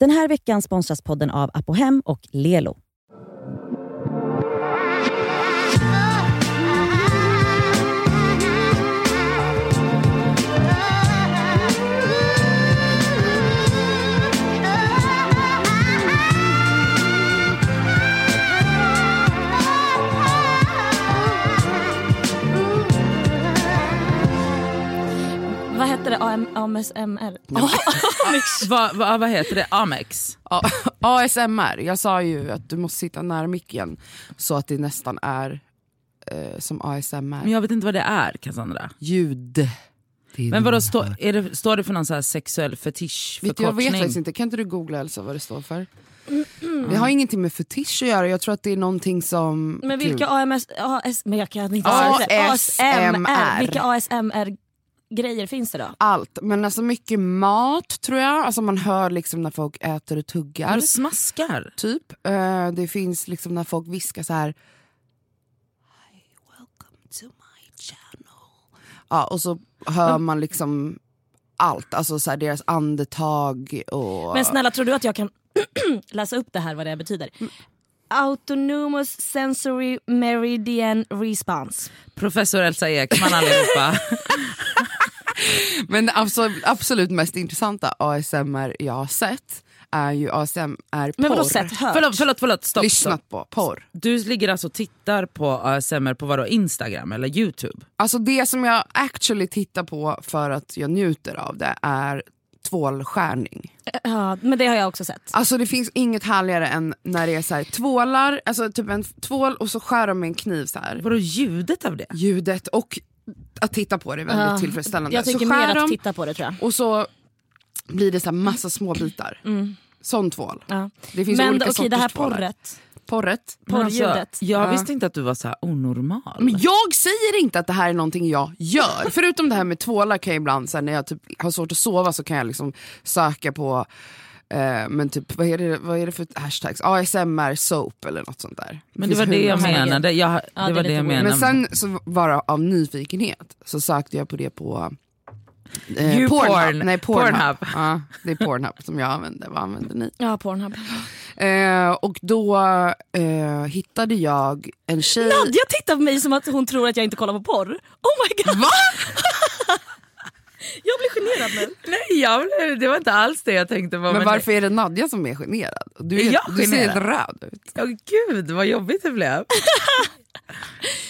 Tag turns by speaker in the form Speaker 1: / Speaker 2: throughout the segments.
Speaker 1: Den här veckan sponsras podden av Apohem och Lelo.
Speaker 2: Vad heter det? AM, AMSMR?
Speaker 3: Va, va, vad heter det? Amex?
Speaker 4: Ja, ASMR, jag sa ju att du måste sitta nära micken så att det nästan är eh, som ASMR.
Speaker 3: Men jag vet inte vad det är Cassandra.
Speaker 4: Ljud.
Speaker 3: Men vadå, stå, är det, står det för någon så här sexuell
Speaker 4: Vet, du, jag vet
Speaker 3: fetischförkortning?
Speaker 4: faktiskt inte, kan inte du googla Elsa vad det står för? Det har ingenting med fetisch att göra, jag tror att det är någonting som...
Speaker 2: Men vilka AMS... AS, men jag kan inte säga det.
Speaker 4: ASMR.
Speaker 2: Vilka ASMR-grejer finns det då?
Speaker 4: Allt, men alltså mycket mat tror jag. Alltså man hör liksom när folk äter och tuggar.
Speaker 3: Du smaskar.
Speaker 4: typ. Eh, det finns liksom när folk viskar så här... Hi, welcome to my channel. Ja, och så hör man liksom allt. Alltså så här, deras andetag och...
Speaker 2: Men snälla, tror du att jag kan läsa upp det här vad det här betyder? Autonomous sensory meridian response.
Speaker 3: Professor Elsa Ekman allihopa.
Speaker 4: Men det absolut, absolut mest intressanta ASMR jag har sett är ju ASMR-porr.
Speaker 2: Men vadå sett? Hört?
Speaker 3: förlåt, förlåt, förlåt. Stopp, stopp.
Speaker 4: Lyssnat på porr.
Speaker 3: Du ligger alltså och tittar på ASMR på vadå, Instagram eller Youtube?
Speaker 4: Alltså det som jag actually tittar på för att jag njuter av det är tvålskärning.
Speaker 2: Ja, men det har jag också sett.
Speaker 4: Alltså det finns inget härligare än när det är så här, tvålar, alltså typ en tvål och så skär de med en kniv så här.
Speaker 3: Vadå ljudet av det?
Speaker 4: Ljudet och att titta på det är väldigt
Speaker 2: Ja,
Speaker 4: tillfredsställande.
Speaker 2: Jag
Speaker 4: så
Speaker 2: tänker
Speaker 4: skär
Speaker 2: mer att
Speaker 4: de
Speaker 2: titta på det tror jag.
Speaker 4: och så blir det så här massa små bitar. Sån tvål.
Speaker 2: Mm. Ja.
Speaker 4: Det finns
Speaker 2: men
Speaker 4: olika
Speaker 2: okej, det här
Speaker 4: sorters tvålar.
Speaker 2: porret.
Speaker 4: Porret.
Speaker 3: Men alltså,
Speaker 2: Porrljudet.
Speaker 3: jag
Speaker 4: Ja.
Speaker 3: visste inte att du var så här onormal.
Speaker 4: Men jag säger inte att det här är någonting jag gör. Förutom det här med tvålar kan jag ibland, så här, när jag typ har svårt att sova så kan jag liksom söka på eh, men typ, vad, är det, vad är det för hashtags? ASMR soap eller något sånt där.
Speaker 3: Men det
Speaker 4: finns
Speaker 3: var det
Speaker 4: hur
Speaker 3: jag
Speaker 4: många-
Speaker 3: menade. Jag,
Speaker 2: Ja, det
Speaker 3: det var
Speaker 2: är
Speaker 3: det
Speaker 2: lite
Speaker 3: jag
Speaker 2: weird.
Speaker 3: menade.
Speaker 4: Men sen så bara av nyfikenhet så sökte jag på det på eh,
Speaker 3: YouPorn.
Speaker 4: Nej, Pornhub.
Speaker 3: Pornhub.
Speaker 4: Ja, det är Pornhub som jag använder. Vad använder ni?
Speaker 2: Ja, Pornhub.
Speaker 4: Eh, och då eh, hittade jag en tjej.
Speaker 2: Nadja tittar på mig som att hon tror att jag inte kollar på porr. Oh my god!
Speaker 4: Va?
Speaker 2: Jag blir generad nu.
Speaker 3: Nej, jag, blev- det var inte alls det jag tänkte på.
Speaker 4: Men varför är det Nadja som är generad? Du,
Speaker 3: Är
Speaker 4: är,
Speaker 3: jag
Speaker 4: du ser
Speaker 3: generad?
Speaker 4: helt röd ut.
Speaker 3: Åh, gud vad jobbigt det blev.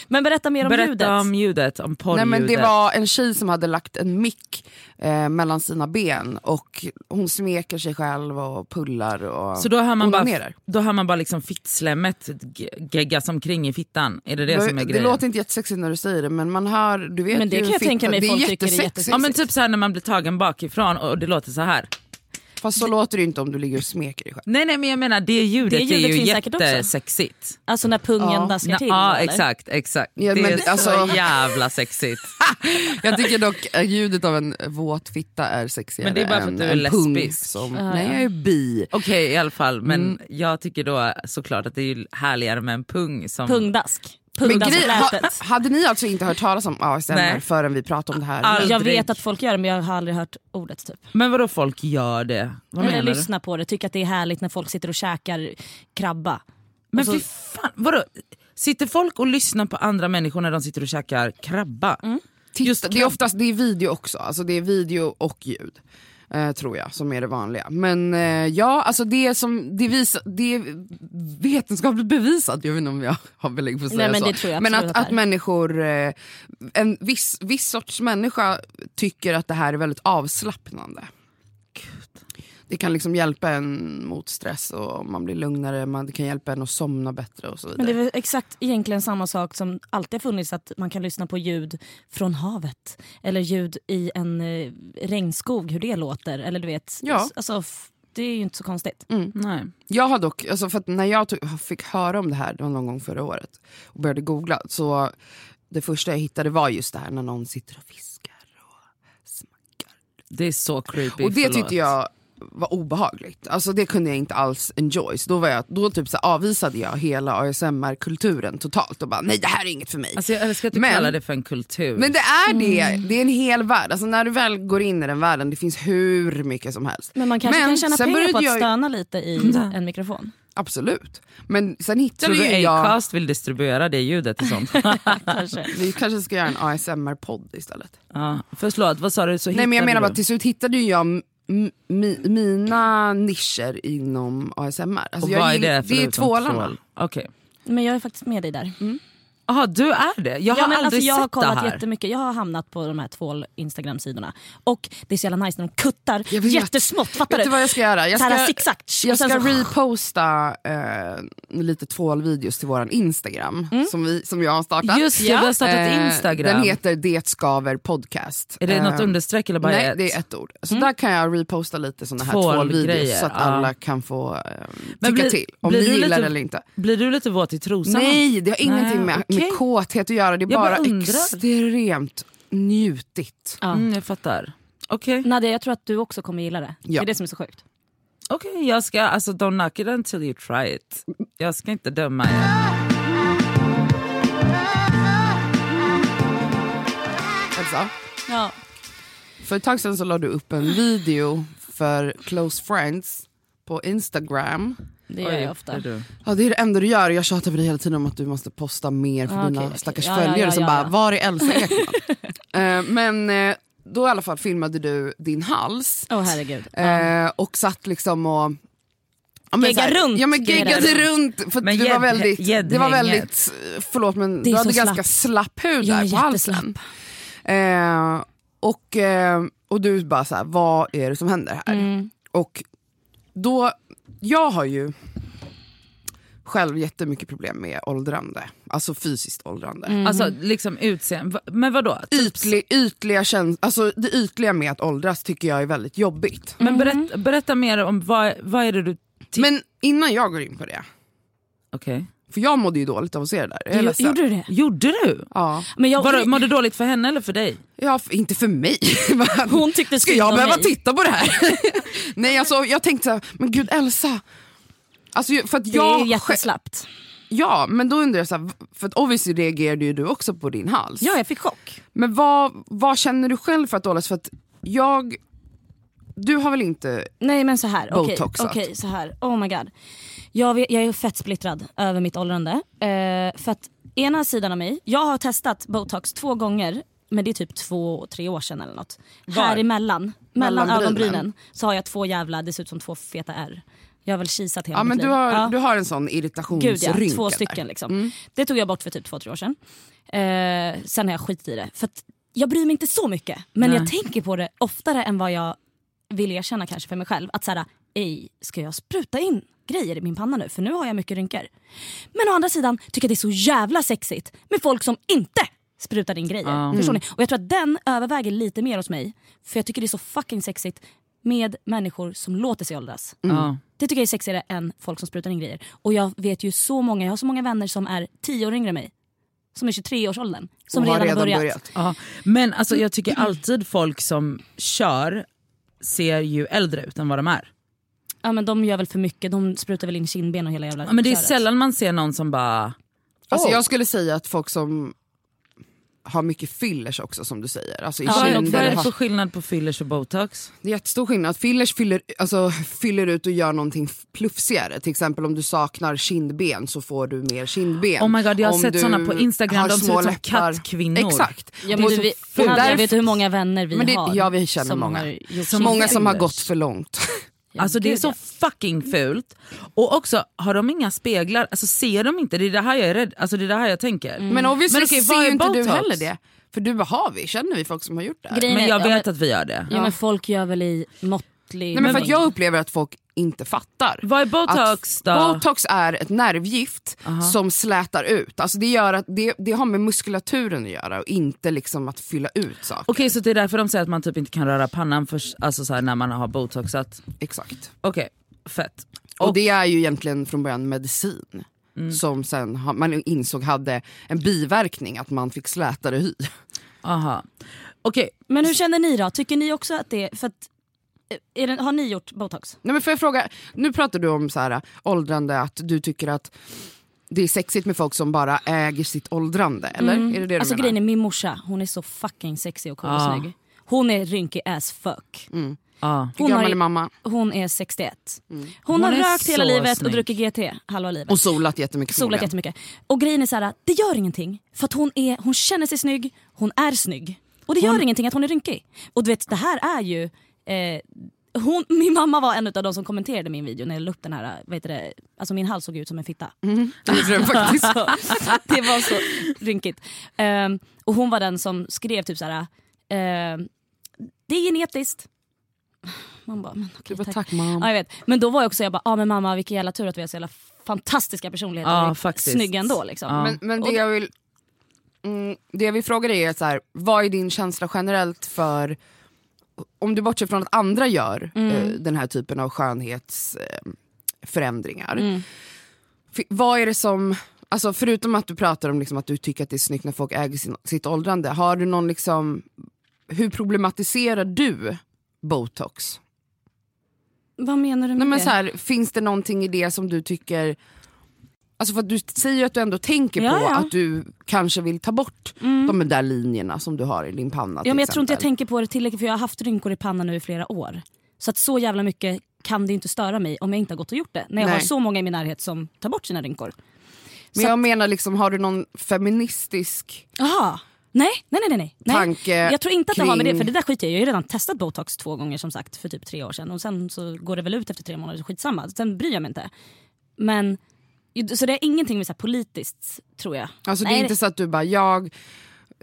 Speaker 2: Men berätta mer om
Speaker 3: Berätta
Speaker 2: ljudet.
Speaker 3: om ljudet, om
Speaker 4: Nej,
Speaker 3: porrljudet.
Speaker 4: men det var en tjej som hade lagt en mick eh, mellan sina ben och hon smeker sig själv och pullar och
Speaker 3: Så då hör man bara,
Speaker 4: onanerar.
Speaker 3: då hör man bara liksom fittslemmet g- geggas omkring i fittan. Är det det som är
Speaker 4: det
Speaker 3: grejen?
Speaker 4: låter inte jättesexigt när du säger det men man hör, du vet
Speaker 2: Men det
Speaker 4: ju
Speaker 2: kan jag
Speaker 4: fitta-
Speaker 2: tänka mig
Speaker 4: det är
Speaker 2: folk tycker det är
Speaker 4: jättesexigt.
Speaker 3: ja, men typ så här när man blir tagen bakifrån och det låter så här.
Speaker 4: Fast så låter det ju inte om du ligger och smeker dig själv.
Speaker 3: Nej nej men jag menar det ljudet,
Speaker 2: Det ljudet
Speaker 3: är ju
Speaker 2: finns säkert också.
Speaker 3: jättesexigt.
Speaker 2: Alltså när pungen
Speaker 4: Ja.
Speaker 2: daskar
Speaker 3: Nå-
Speaker 2: till.
Speaker 3: ja
Speaker 2: eller?
Speaker 3: exakt, exakt.
Speaker 4: Ja,
Speaker 3: det
Speaker 4: men
Speaker 3: är så
Speaker 4: alltså-
Speaker 3: jävla sexigt.
Speaker 4: Jag tycker dock eh, ljudet av en våt fitta är sexigare
Speaker 3: Men det är bara för
Speaker 4: än
Speaker 3: att du är
Speaker 4: en pung
Speaker 3: lesbisk.
Speaker 4: Som, nej jag är bi.
Speaker 3: Okej i alla fall men
Speaker 4: Mm.
Speaker 3: jag tycker då såklart att det är ju härligare med en pung som...
Speaker 2: Pungdask.
Speaker 4: Men grej, ha,
Speaker 2: Pungdasklätet.
Speaker 4: hade ni alltså inte hört talas om ASMR
Speaker 3: Nej.
Speaker 4: förrän vi pratade om det här?
Speaker 3: All-
Speaker 2: Jag
Speaker 3: aldrig.
Speaker 2: vet att folk gör det men jag har aldrig hört ordet typ.
Speaker 3: Men vadå folk gör det? Vad
Speaker 2: Eller
Speaker 3: menar du?
Speaker 2: lyssna på det, tycker att det är härligt när folk sitter och käkar krabba.
Speaker 3: Men
Speaker 2: Och så-
Speaker 3: fy fan, vadå? Sitter folk och lyssnar på andra människor när de sitter och käkar krabba?
Speaker 4: Mm. Titta,
Speaker 3: Just
Speaker 4: det är oftast det är video också, alltså det är video och ljud. Eh, tror jag, som är det vanliga. Men eh, ja, alltså det som det, visa, det är vetenskapligt bevisat, jag vet inte om jag har belägg för att
Speaker 2: Nej,
Speaker 4: säga
Speaker 2: men
Speaker 4: så.
Speaker 2: det tror jag
Speaker 4: men
Speaker 2: absolut
Speaker 4: att,
Speaker 2: att
Speaker 4: att
Speaker 2: det är.
Speaker 4: människor, eh, en viss, viss sorts människa tycker att det här är väldigt avslappnande. Det kan liksom hjälpa en mot stress och man blir lugnare, man, det kan hjälpa en att somna bättre och så vidare.
Speaker 2: Men det är väl exakt egentligen samma sak som alltid har funnits att man kan lyssna på ljud från havet. Eller ljud i en eh, regnskog, hur det låter. Eller du vet,
Speaker 4: Ja. Mm.
Speaker 2: s- alltså, f- det är ju inte så konstigt.
Speaker 3: Nej.
Speaker 4: Jag har dock, alltså för att när jag tog, fick höra om det här det var någon gång förra året och började googla så det första jag hittade var just det här när någon sitter och viskar.
Speaker 3: Det är så creepy.
Speaker 4: Och det
Speaker 3: förlåt.
Speaker 4: tyckte jag var obehagligt. Alltså det kunde jag inte alls enjoy. Så då, var jag, då typ så här avvisade jag hela ASMR-kulturen totalt och bara nej det här är inget för mig.
Speaker 3: Alltså jag älskar att du
Speaker 4: Men-
Speaker 3: kallar det för en kultur.
Speaker 4: men det är det,
Speaker 2: mm.
Speaker 4: det är en hel värld. Alltså när du väl går in i den världen, det finns hur mycket som helst.
Speaker 2: Men man kanske
Speaker 4: Men
Speaker 2: kan tjäna
Speaker 4: sen
Speaker 2: pengar på
Speaker 4: började
Speaker 2: att
Speaker 4: jag ju- Mm.
Speaker 2: stöna lite i en mikrofon.
Speaker 4: Absolut. Men sen
Speaker 3: Tror
Speaker 4: hittade
Speaker 3: du
Speaker 4: jag...
Speaker 3: Acast vill distribuera det ljudet och sånt?
Speaker 2: Kanske.
Speaker 4: Vi kanske ska göra en ASMR-podd istället.
Speaker 3: ja. Förlåt, vad sa du? Så
Speaker 4: Nej men jag
Speaker 3: hittade
Speaker 4: menar
Speaker 3: du?
Speaker 4: bara till slut hittade ju jag m- mi, mina nischer inom ASMR. Alltså
Speaker 3: Och
Speaker 4: jag
Speaker 3: vad är
Speaker 4: gillar-
Speaker 3: det
Speaker 4: Det är
Speaker 3: förutom
Speaker 4: tvålarna.
Speaker 3: tvål? Okej.
Speaker 2: Men jag är faktiskt med dig där.
Speaker 4: Mm.
Speaker 3: Jaha, du är det? Jag har
Speaker 2: ja, men
Speaker 3: aldrig
Speaker 2: alltså, jag
Speaker 3: sett
Speaker 2: har kollat
Speaker 3: det här.
Speaker 2: jättemycket. Jag har hamnat på de här tvål Instagram-sidorna. Och det är så jävla nice när de kuttar
Speaker 4: Jag vet.
Speaker 2: jättesmått. Fattar
Speaker 4: Vet du
Speaker 2: du?
Speaker 4: vad jag ska göra? Jag
Speaker 2: Så här
Speaker 4: ska,
Speaker 2: zigzag.
Speaker 4: jag
Speaker 2: Och sen
Speaker 4: ska
Speaker 2: så-
Speaker 4: reposta eh, lite tvålvideos till våran Instagram som, vi, som jag har startat.
Speaker 3: Mm. Just det, du har startat
Speaker 4: Eh,
Speaker 3: Instagram.
Speaker 4: Den heter Det skaver podcast.
Speaker 3: Är det något
Speaker 4: Eh,
Speaker 3: understreck eller bara Mm.
Speaker 4: Nej, det är ett ord. Så där kan jag reposta lite såna här
Speaker 3: Tvålgrejer,
Speaker 4: tvålvideos så att
Speaker 3: ja.
Speaker 4: alla kan få eh,
Speaker 3: Men
Speaker 4: tycka
Speaker 3: blir-
Speaker 4: till om
Speaker 3: blir
Speaker 4: ni
Speaker 3: du
Speaker 4: gillar
Speaker 3: lite-
Speaker 4: det eller inte.
Speaker 3: Blir du lite våt i trosan?
Speaker 4: Nej, det har ingenting med,
Speaker 3: okej.
Speaker 4: med kåthet att göra. Det är
Speaker 3: Jag bara
Speaker 4: bara,
Speaker 3: undrar.
Speaker 4: extremt njutigt.
Speaker 2: Ja.
Speaker 3: Mm, jag fattar. Okej,
Speaker 2: Nadia, jag tror att du också kommer gilla det. Det
Speaker 4: Ja.
Speaker 2: är det som är så sjukt.
Speaker 3: Okej, jag ska, alltså don't knock it until you try it. Jag ska inte döma er.
Speaker 4: Elsa,
Speaker 2: Ja.
Speaker 4: för ett tag sedan så la du upp en video för close friends på Instagram.
Speaker 2: Det gör jag ofta.
Speaker 3: det är du.
Speaker 4: Ja, det är det enda du gör. Jag tjatar på dig hela tiden om att du måste posta mer för
Speaker 2: Ja,
Speaker 4: dina
Speaker 2: okej, okej.
Speaker 4: stackars
Speaker 2: Ja, ja,
Speaker 4: följare
Speaker 2: ja,
Speaker 4: som
Speaker 2: ja,
Speaker 4: bara,
Speaker 2: ja.
Speaker 4: var är Elsa Ekman? Eh, men eh, då i alla fall filmade du din hals
Speaker 2: Åh herregud.
Speaker 4: eh, och satt liksom och Ja,
Speaker 2: Gegga
Speaker 4: så här-
Speaker 2: runt,
Speaker 4: Ja men
Speaker 2: geggade
Speaker 4: geggade runt. För
Speaker 3: Men
Speaker 4: du var
Speaker 3: gädd-
Speaker 4: väldigt, det var
Speaker 3: gäddhänget.
Speaker 4: väldigt, förlåt men
Speaker 2: Det är
Speaker 4: du hade
Speaker 2: så
Speaker 4: ganska slapp hud
Speaker 2: Jag är
Speaker 4: där på halsen. Eh, och, eh, och du bara så här, vad är det som händer här?
Speaker 2: Mm.
Speaker 4: Och då, jag har ju själv jättemycket problem med åldrande, alltså fysiskt åldrande.
Speaker 2: Mm.
Speaker 3: Alltså liksom utseende, men vadå? Typ-
Speaker 4: Ytlig, ytliga käns- alltså det ytliga med att åldras tycker jag är väldigt
Speaker 2: Mm.
Speaker 4: jobbigt.
Speaker 3: Men berätta, berätta mer om vad, vad är det du... Ti-
Speaker 4: Mhm. Men innan jag går in på det,
Speaker 3: Okej.
Speaker 4: för jag mådde ju dåligt av att se det där. Jag är
Speaker 2: Jo,
Speaker 4: ledsen.
Speaker 2: gjorde du det?
Speaker 3: Gjorde du?
Speaker 4: Ja. Mm.
Speaker 2: Men jag,
Speaker 3: Vadå, mår du dåligt för henne eller för dig?
Speaker 4: Ja, f- inte för mig.
Speaker 2: Hon tyckte
Speaker 4: Ska
Speaker 2: synd
Speaker 4: jag
Speaker 2: om
Speaker 4: behöva
Speaker 2: mig.
Speaker 4: titta på det här? Nej, alltså, jag tänkte så här, men gud Elsa. Alltså, ju- för att
Speaker 2: det är
Speaker 4: jag
Speaker 2: ju jätteslappt.
Speaker 4: ja, men då undrar jag, så här, för att obviously reagerade ju du också på din hals.
Speaker 2: Ja, jag fick chock.
Speaker 4: Men vad, vad känner du själv för att åldras? För att jag, du har väl inte,
Speaker 2: Nej men så här. Okej,
Speaker 4: Botoxat.
Speaker 2: okej, så här. Oh my god. Jag, vet- jag är fett splittrad över mitt åldrande. Eh, för att ena sidan av mig, jag har testat botox två gånger men det är typ två, tre år sedan eller något. Här emellan, mellan, mellan
Speaker 4: Mellan brynen.
Speaker 2: ögonbrynen så har jag två jävla, det ser ut som två feta R. Jag har väl kisat hela
Speaker 4: ja men
Speaker 2: mitt
Speaker 4: du
Speaker 2: liv.
Speaker 4: har,
Speaker 2: Ja.
Speaker 4: du har en sån irritationsrynka
Speaker 2: Gud ja, två
Speaker 4: där.
Speaker 2: stycken. Liksom. Det tog jag bort för typ två, tre år sedan. Eh, sen har jag skit i det. För att jag bryr mig inte så mycket. Men jag tänker på det oftare än vad jag vill erkänna kanske för mig själv. Att såhär, ej, ska jag spruta in grejer i min panna nu? För nu har jag mycket rynkor. Men å andra sidan tycker jag det är så jävla sexigt med folk som inte sprutar in grejer. Förstår ni? Och jag tror att den överväger lite mer hos mig. För jag tycker det är så fucking sexigt med människor som låter sig åldras.
Speaker 3: Ja.
Speaker 2: Det tycker jag är sexigare än folk som sprutar in grejer. Och jag vet ju så många, jag har så många vänner som är 10 år yngre än mig. Som är 23-årsåldern. Som
Speaker 4: Och har
Speaker 2: redan, har börjat.
Speaker 3: Ja. Men alltså, jag tycker alltid folk som kör ser ju äldre ut än vad de är.
Speaker 2: Ja men de gör väl för mycket, de sprutar väl in kindben och hela jävla
Speaker 3: Ja, men det är
Speaker 2: köret.
Speaker 3: sällan man ser någon som bara...
Speaker 4: Alltså
Speaker 3: Åh.
Speaker 4: jag skulle säga att folk som har mycket fillers också som du säger. Alltså i
Speaker 2: Ja,
Speaker 3: Vad är-
Speaker 4: kinder
Speaker 3: vad är
Speaker 4: och
Speaker 3: det
Speaker 4: hals-
Speaker 3: för skillnad på fillers och botox?
Speaker 4: Det är jättestor skillnad. Fillers fyller, alltså, fyller ut och gör någonting f- plufsigare. Till exempel om du saknar kindben så får du mer kindben.
Speaker 3: Oh my God, jag har
Speaker 4: Om
Speaker 3: sett
Speaker 4: du
Speaker 3: såna på Instagram.
Speaker 4: har
Speaker 3: De ser ut
Speaker 4: små
Speaker 3: som
Speaker 4: läppar.
Speaker 3: kattkvinnor.
Speaker 4: Exakt.
Speaker 2: Ja, men
Speaker 4: Och
Speaker 2: du,
Speaker 4: så
Speaker 2: vi,
Speaker 4: får-
Speaker 2: Nadja,
Speaker 4: därför-
Speaker 2: vet du hur många vänner vi
Speaker 4: Men det-
Speaker 2: har?
Speaker 4: ja, vi känner
Speaker 2: som
Speaker 4: många.
Speaker 2: har gjort
Speaker 3: Så
Speaker 4: Många som har
Speaker 3: fillers.
Speaker 4: gått för långt.
Speaker 2: kindben?
Speaker 3: Alltså det är
Speaker 2: Gud,
Speaker 3: så
Speaker 2: ja. Mm.
Speaker 3: fucking fult. Och också, har de inga speglar? Alltså ser de inte? Det är det här jag är rädd, alltså det är det här jag tänker.
Speaker 2: Mm.
Speaker 4: Men obviously
Speaker 3: Mm. okej, vad
Speaker 4: ser ju
Speaker 3: är
Speaker 4: inte du
Speaker 3: botox?
Speaker 4: heller det. För du bara, har vi? Känner vi folk som har gjort det här?
Speaker 2: Grejen
Speaker 3: Men
Speaker 2: är-
Speaker 3: jag
Speaker 2: ja,
Speaker 3: vet att vi gör det.
Speaker 2: Ja men folk gör väl i måttlig
Speaker 4: Nej, men för att
Speaker 2: mängd.
Speaker 4: jag upplever att folk inte fattar.
Speaker 3: Vad är botox
Speaker 4: att
Speaker 3: då?
Speaker 4: Botox är ett nervgift som slätar ut. Alltså det, gör att det, det har med muskulaturen att göra och inte liksom att fylla ut saker.
Speaker 3: Okej så det är därför de säger att man typ inte kan röra pannan för, alltså så här, när man har botoxat.
Speaker 4: Exakt.
Speaker 3: Okej, fett.
Speaker 4: Och,
Speaker 3: Och-
Speaker 4: det är ju egentligen från början medicin.
Speaker 2: Mm.
Speaker 4: Som sen ha, man insåg hade en biverkning, att man fick slätare hy.
Speaker 3: Aha. Okej,
Speaker 2: Men hur känner ni då? Tycker ni också att det, för att är det, har ni gjort botox?
Speaker 4: Nej, men får jag fråga, nu pratar du om så här, äh, åldrande, att du tycker att det är sexigt med folk som bara äger sitt åldrande. Eller? Är det det du
Speaker 2: Alltså
Speaker 4: menar?
Speaker 2: grejen är min morsa, hon är så fucking sexig och cool och
Speaker 3: Ja.
Speaker 2: snygg. Hon är rynkig as fuck.
Speaker 3: Ja.
Speaker 4: Mm. Hur
Speaker 2: Hon,
Speaker 4: gammal
Speaker 2: har,
Speaker 4: är mamma?
Speaker 2: hon är 61. Hon, har
Speaker 3: Hon är
Speaker 2: rökt hela
Speaker 3: så
Speaker 2: livet och
Speaker 3: snygg.
Speaker 2: druckit GT halva livet.
Speaker 4: Och solat jättemycket
Speaker 2: solat
Speaker 4: förmodligen.
Speaker 2: jättemycket. Och grejen är så här, det gör ingenting. För att hon, är, hon känner sig snygg, hon är snygg. Och det gör ingenting att hon är rynkig. Och du vet, det här är ju... Eh, hon, min mamma var en av de som kommenterade min video när jag la upp den här, vad heter det, alltså min hals såg ut som en fitta. Alltså,
Speaker 4: Det tror jag faktiskt.
Speaker 2: det var så rynkigt. Ehm, och hon var den som skrev typ så här. ehm, det är genetiskt. Man bara, men
Speaker 4: Du
Speaker 2: okej,
Speaker 4: bara,
Speaker 2: tack.
Speaker 4: tack mamma.
Speaker 2: Ja, jag vet. Men då var jag också jag bara, ah, men mamma vilken jävla tur att vi har så jävla fantastiska personligheter.
Speaker 3: Ja,
Speaker 2: Vi är
Speaker 3: faktiskt.
Speaker 2: Snygga ändå liksom.
Speaker 3: Ja.
Speaker 4: Men, men det,
Speaker 2: Och det-
Speaker 4: jag vill, mm, det jag vill fråga dig är så här, vad är din känsla generellt för, om du bortser från att andra gör eh,
Speaker 2: Mm.
Speaker 4: den här typen av skönhetsförändringar.
Speaker 2: Mm.
Speaker 4: Vad är det som, alltså förutom att du pratar om liksom att du tycker att det är snyggt när folk äger sin, sitt åldrande, har du någon liksom, hur problematiserar du botox?
Speaker 2: Vad menar du med
Speaker 4: Nej, men
Speaker 2: det?
Speaker 4: så här, finns det någonting i det som du tycker... Alltså för att du säger ju att du ändå tänker
Speaker 2: Ja,
Speaker 4: på
Speaker 2: ja. Mm.
Speaker 4: att du kanske vill ta bort de där linjerna som du har i din panna.
Speaker 2: ja,
Speaker 4: till
Speaker 2: men jag tror inte jag
Speaker 4: exempel.
Speaker 2: tänker på det tillräckligt för jag har haft rynkor i pannan nu i flera år. Så att så jävla mycket kan det inte störa mig om jag inte har gått och gjort det. När jag
Speaker 4: Nej.
Speaker 2: har så många i min närhet som tar bort sina rynkor.
Speaker 4: Men jag menar, liksom, har du någon feministisk...
Speaker 2: Aha. Nej, nej, nej, nej. nej.
Speaker 4: Tanke
Speaker 2: jag tror inte att det har med det
Speaker 4: kring-
Speaker 2: för det där skiter jag i. Jag har ju redan testat botox två gånger som sagt för typ tre år sedan och sen så går det väl ut efter tre månader, så skitsamma. Sen bryr jag mig inte. Men, så det är ingenting med så här politiskt tror jag.
Speaker 4: Alltså det
Speaker 2: Nej,
Speaker 4: är inte så att du bara, jag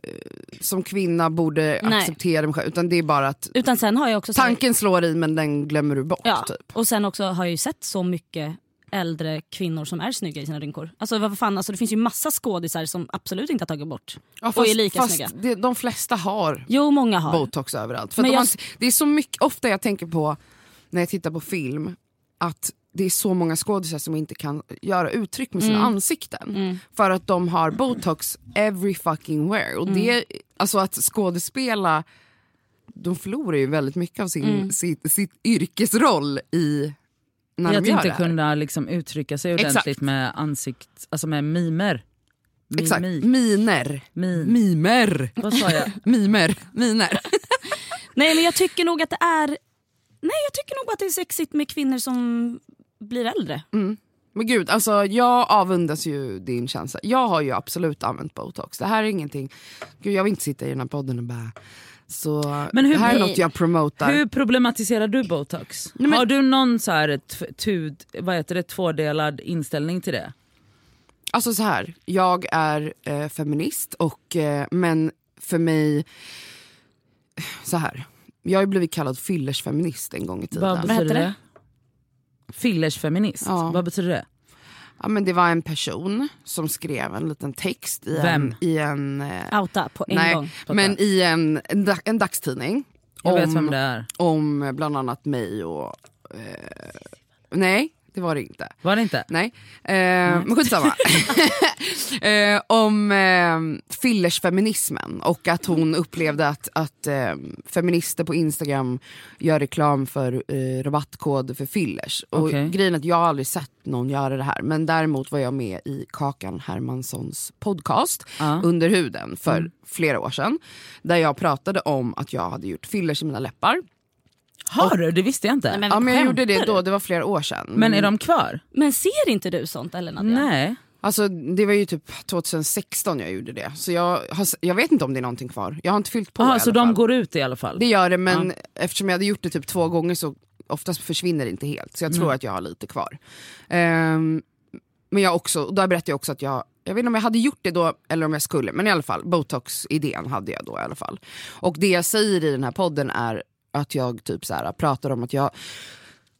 Speaker 4: eh, som kmig borde
Speaker 2: Nej.
Speaker 4: acceptera mig själv. Utan det är bara att
Speaker 2: Utan sen har jag också... så här-
Speaker 4: tanken slår i men den glömmer du bort.
Speaker 2: Ja,
Speaker 4: Typ.
Speaker 2: och sen också har jag ju sett så mycket äldre kvinnor som är snygga i sina rynkor. Alltså vad fan, alltså, det finns ju massa skådisar som absolut inte har tagit bort.
Speaker 4: Ja,
Speaker 2: och är lika snygga.
Speaker 4: fast det, de flesta har
Speaker 2: Jo, många har.
Speaker 4: botox överallt. För
Speaker 2: Men
Speaker 4: att de
Speaker 2: jag-
Speaker 4: har inte, det är så mycket, ofta jag tänker på när jag tittar på film att det är så många skådisar som inte kan göra uttryck med sina ansikten. För att de har botox every fucking where. Och det, alltså att skådespela, de förlorar ju väldigt mycket av sin, sitt, sitt yrkesroll i när
Speaker 3: I att
Speaker 4: de gör
Speaker 3: inte
Speaker 4: det här.
Speaker 3: kunna liksom uttrycka sig
Speaker 4: Exakt.
Speaker 3: ordentligt med ansikt, alltså med mimer. Mimik. Mm.
Speaker 4: Exakt, miner.
Speaker 3: Min.
Speaker 4: Mimer.
Speaker 3: Vad sa jag?
Speaker 4: Mimer. Miner.
Speaker 2: Nej men jag tycker nog att det är... Nej jag tycker nog att det är sexigt med kvinnor som blir äldre.
Speaker 4: Men gud, alltså jag avundas ju din känsla. Jag har ju absolut använt botox. Det här är ingenting... Gud, jag vill inte sitta i den här podden och bara... Så
Speaker 3: Men hur
Speaker 4: det här är
Speaker 3: blir-
Speaker 4: något jag promotar.
Speaker 3: Hur problematiserar du botox? Har du någon så här t- tud, vad heter det, tvådelad inställning till det?
Speaker 4: Alltså så här, jag är eh, feminist och eh, men för mig... Så här, jag har ju blivit kallad fyllersfeminist en gång i
Speaker 3: Vad
Speaker 4: tiden.
Speaker 3: betyder
Speaker 2: heter
Speaker 3: det? Fillersfeminist,
Speaker 4: Ja.
Speaker 3: vad betyder det?
Speaker 4: Ja, men det var en person som skrev en liten text i
Speaker 3: Vem?
Speaker 4: en... I en eh,
Speaker 2: Outa på en
Speaker 4: nej,
Speaker 2: gång.
Speaker 4: men i en, en, dag- en dagstidning.
Speaker 3: Jag vet
Speaker 4: om-
Speaker 3: vem det är.
Speaker 4: om eh, bland annat mig och... Eh, nej, det var det inte.
Speaker 3: Var det inte?
Speaker 4: Nej, eh,
Speaker 3: Mm.
Speaker 4: men skitsamma. eh, om eh, fillersfeminismen och att
Speaker 3: Mm.
Speaker 4: hon upplevde att, att eh, feminister på Instagram gör reklam för eh, rabattkod för fillers. Och
Speaker 3: Okej.
Speaker 4: Grejen är att jag har aldrig sett någon göra det här men däremot var jag med i Kakan Hermanssons podcast
Speaker 3: Ja. Mm.
Speaker 4: Under huden för flera år sedan. Där jag pratade om att jag hade gjort fillers i mina läppar.
Speaker 3: Har du? Det visste jag inte.
Speaker 2: Nej, men,
Speaker 3: men,
Speaker 4: Ja, men jag
Speaker 2: skämtar
Speaker 4: gjorde det
Speaker 2: du?
Speaker 4: då, det var flera år sedan.
Speaker 3: är de kvar?
Speaker 2: Men ser inte du sånt eller Nadja?
Speaker 3: Nej.
Speaker 4: Alltså, det var ju typ 2016 jag gjorde det. Så jag, har, jag vet inte om det är någonting kvar. Jag har inte fyllt på i
Speaker 3: Aha,
Speaker 4: alla
Speaker 3: så de
Speaker 4: fall.
Speaker 3: går ut i alla fall?
Speaker 4: Det gör det, men eftersom jag hade gjort det typ två gånger så oftast försvinner det inte helt. Så jag tror att jag har lite kvar. Ehm, men jag också, och där berättade jag också att jag, jag vet inte om jag hade gjort det då eller om jag skulle, men i alla fall botox-idén hade jag då i alla fall. Och det jag säger i den här podden är att jag typ så här, pratar om att jag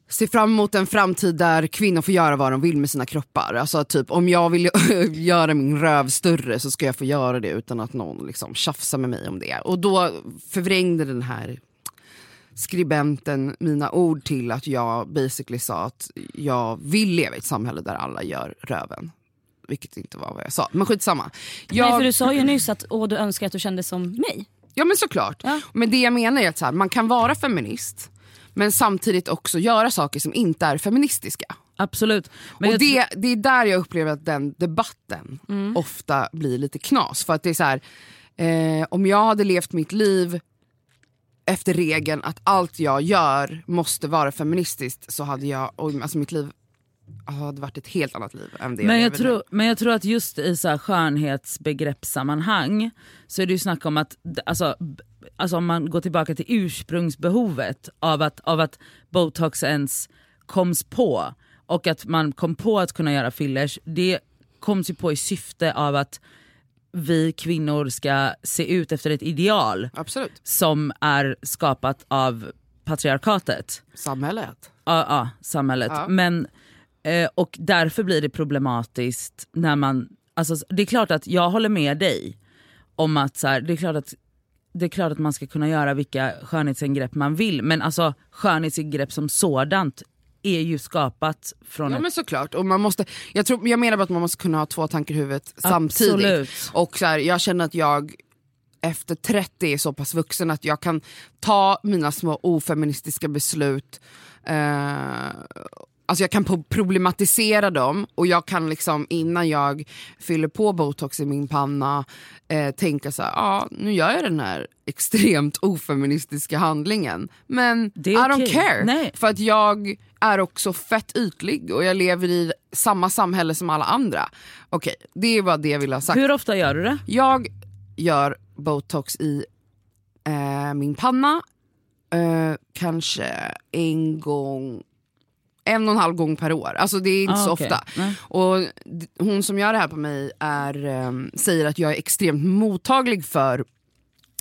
Speaker 4: ser fram emot en framtid där kvinnor får göra vad de vill med sina kroppar. Alltså typ om jag vill göra min röv större så ska jag få göra det utan att någon liksom tjafsar med mig om det. Och då förvrängde den här skribenten mina ord till att jag basically sa att jag vill leva i ett samhälle där alla gör röven. Vilket inte var vad jag sa, men skitsamma. Jag,
Speaker 2: Nej för du sa ju nyss att åh, du önskar att du kände som mig.
Speaker 4: Ja men såklart.
Speaker 2: Ja.
Speaker 4: Men det jag menar är att så här, man kan vara feminist Men samtidigt också göra saker som inte är feministiska.
Speaker 3: Absolut. Men
Speaker 4: och
Speaker 3: jag Mm.
Speaker 4: det, det är där jag upplever att den debatten ofta blir lite knas. För att det är så här, eh, om jag hade levt mitt liv efter regeln att allt jag gör måste vara feministiskt så hade jag, oj, alltså mitt liv hade varit ett helt annat liv än det
Speaker 3: Men jag,
Speaker 4: lever nu.
Speaker 3: tror, men jag tror att just i så här skönhetsbegreppssammanhang så är det ju snack om att, d- alltså, b- alltså om man går tillbaka till ursprungsbehovet av att, av att botox ens koms på och att man kom på att kunna göra fillers, det koms ju på i syfte av att vi kvinnor ska se ut efter ett ideal
Speaker 4: Absolut.
Speaker 3: som är skapat av patriarkatet
Speaker 4: Samhället.
Speaker 3: ja, ja, samhället.
Speaker 4: Ja.
Speaker 3: Men, eh, och därför blir det problematiskt när man... Alltså, det är klart att jag håller med dig om att, så här, det, är klart att det är klart att man ska kunna göra vilka skönhetsingrepp man vill men alltså skönhetsingrepp som sådant är ju skapat från
Speaker 4: Ja
Speaker 3: ett...
Speaker 4: men såklart. Och man måste, jag, tror, jag menar bara att man måste kunna ha två tankar i huvudet samtidigt.
Speaker 3: Absolut.
Speaker 4: Och så här, jag känner att jag efter 30 är så pass vuxen att jag kan ta mina små ofeministiska beslut, eh, alltså jag kan po- problematisera dem och jag kan liksom innan jag fyller på botox i min panna eh, tänka så här, ja nu gör jag den här extremt ofeministiska handlingen men
Speaker 3: Det
Speaker 4: I
Speaker 3: är
Speaker 4: don't
Speaker 3: okej.
Speaker 4: care.
Speaker 3: Nej.
Speaker 4: För att jag är också fett ytlig och jag lever i samma samhälle som alla andra. Okej, det är bara det jag vill ha sagt.
Speaker 3: Hur ofta gör du det?
Speaker 4: Jag gör botox i eh, min panna eh, kanske en gång, en och en halv gång per år. Alltså det är inte
Speaker 3: Ah,
Speaker 4: så
Speaker 3: okej.
Speaker 4: ofta.
Speaker 3: Nej.
Speaker 4: Och d- hon som gör det här på mig är, ehm, säger att jag är extremt mottaglig för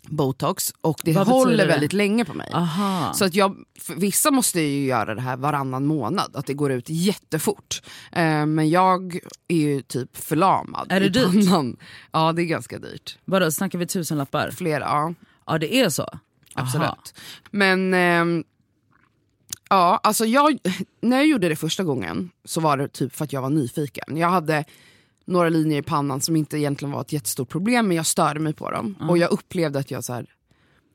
Speaker 4: botox och det
Speaker 3: Vad
Speaker 4: håller
Speaker 3: betyder det?
Speaker 4: väldigt länge på mig.
Speaker 3: Aha.
Speaker 4: Så att jag, för vissa måste ju göra det här varannan månad, att det går ut jättefort. Eh, men jag är ju typ förlamad.
Speaker 3: Är det
Speaker 4: i
Speaker 3: dyrt?
Speaker 4: pannan. Ja det är ganska dyrt.
Speaker 3: Vadå, snackar vi tusenlappar?
Speaker 4: Flera, ja.
Speaker 3: Ja det är så?
Speaker 4: Absolut.
Speaker 3: Aha.
Speaker 4: Men ehm, ja, alltså jag, när jag gjorde det första gången så var det typ för att jag var nyfiken. Jag hade några linjer i pannan som inte egentligen var ett jättestort problem men jag störde mig på dem. Och jag upplevde att jag så här,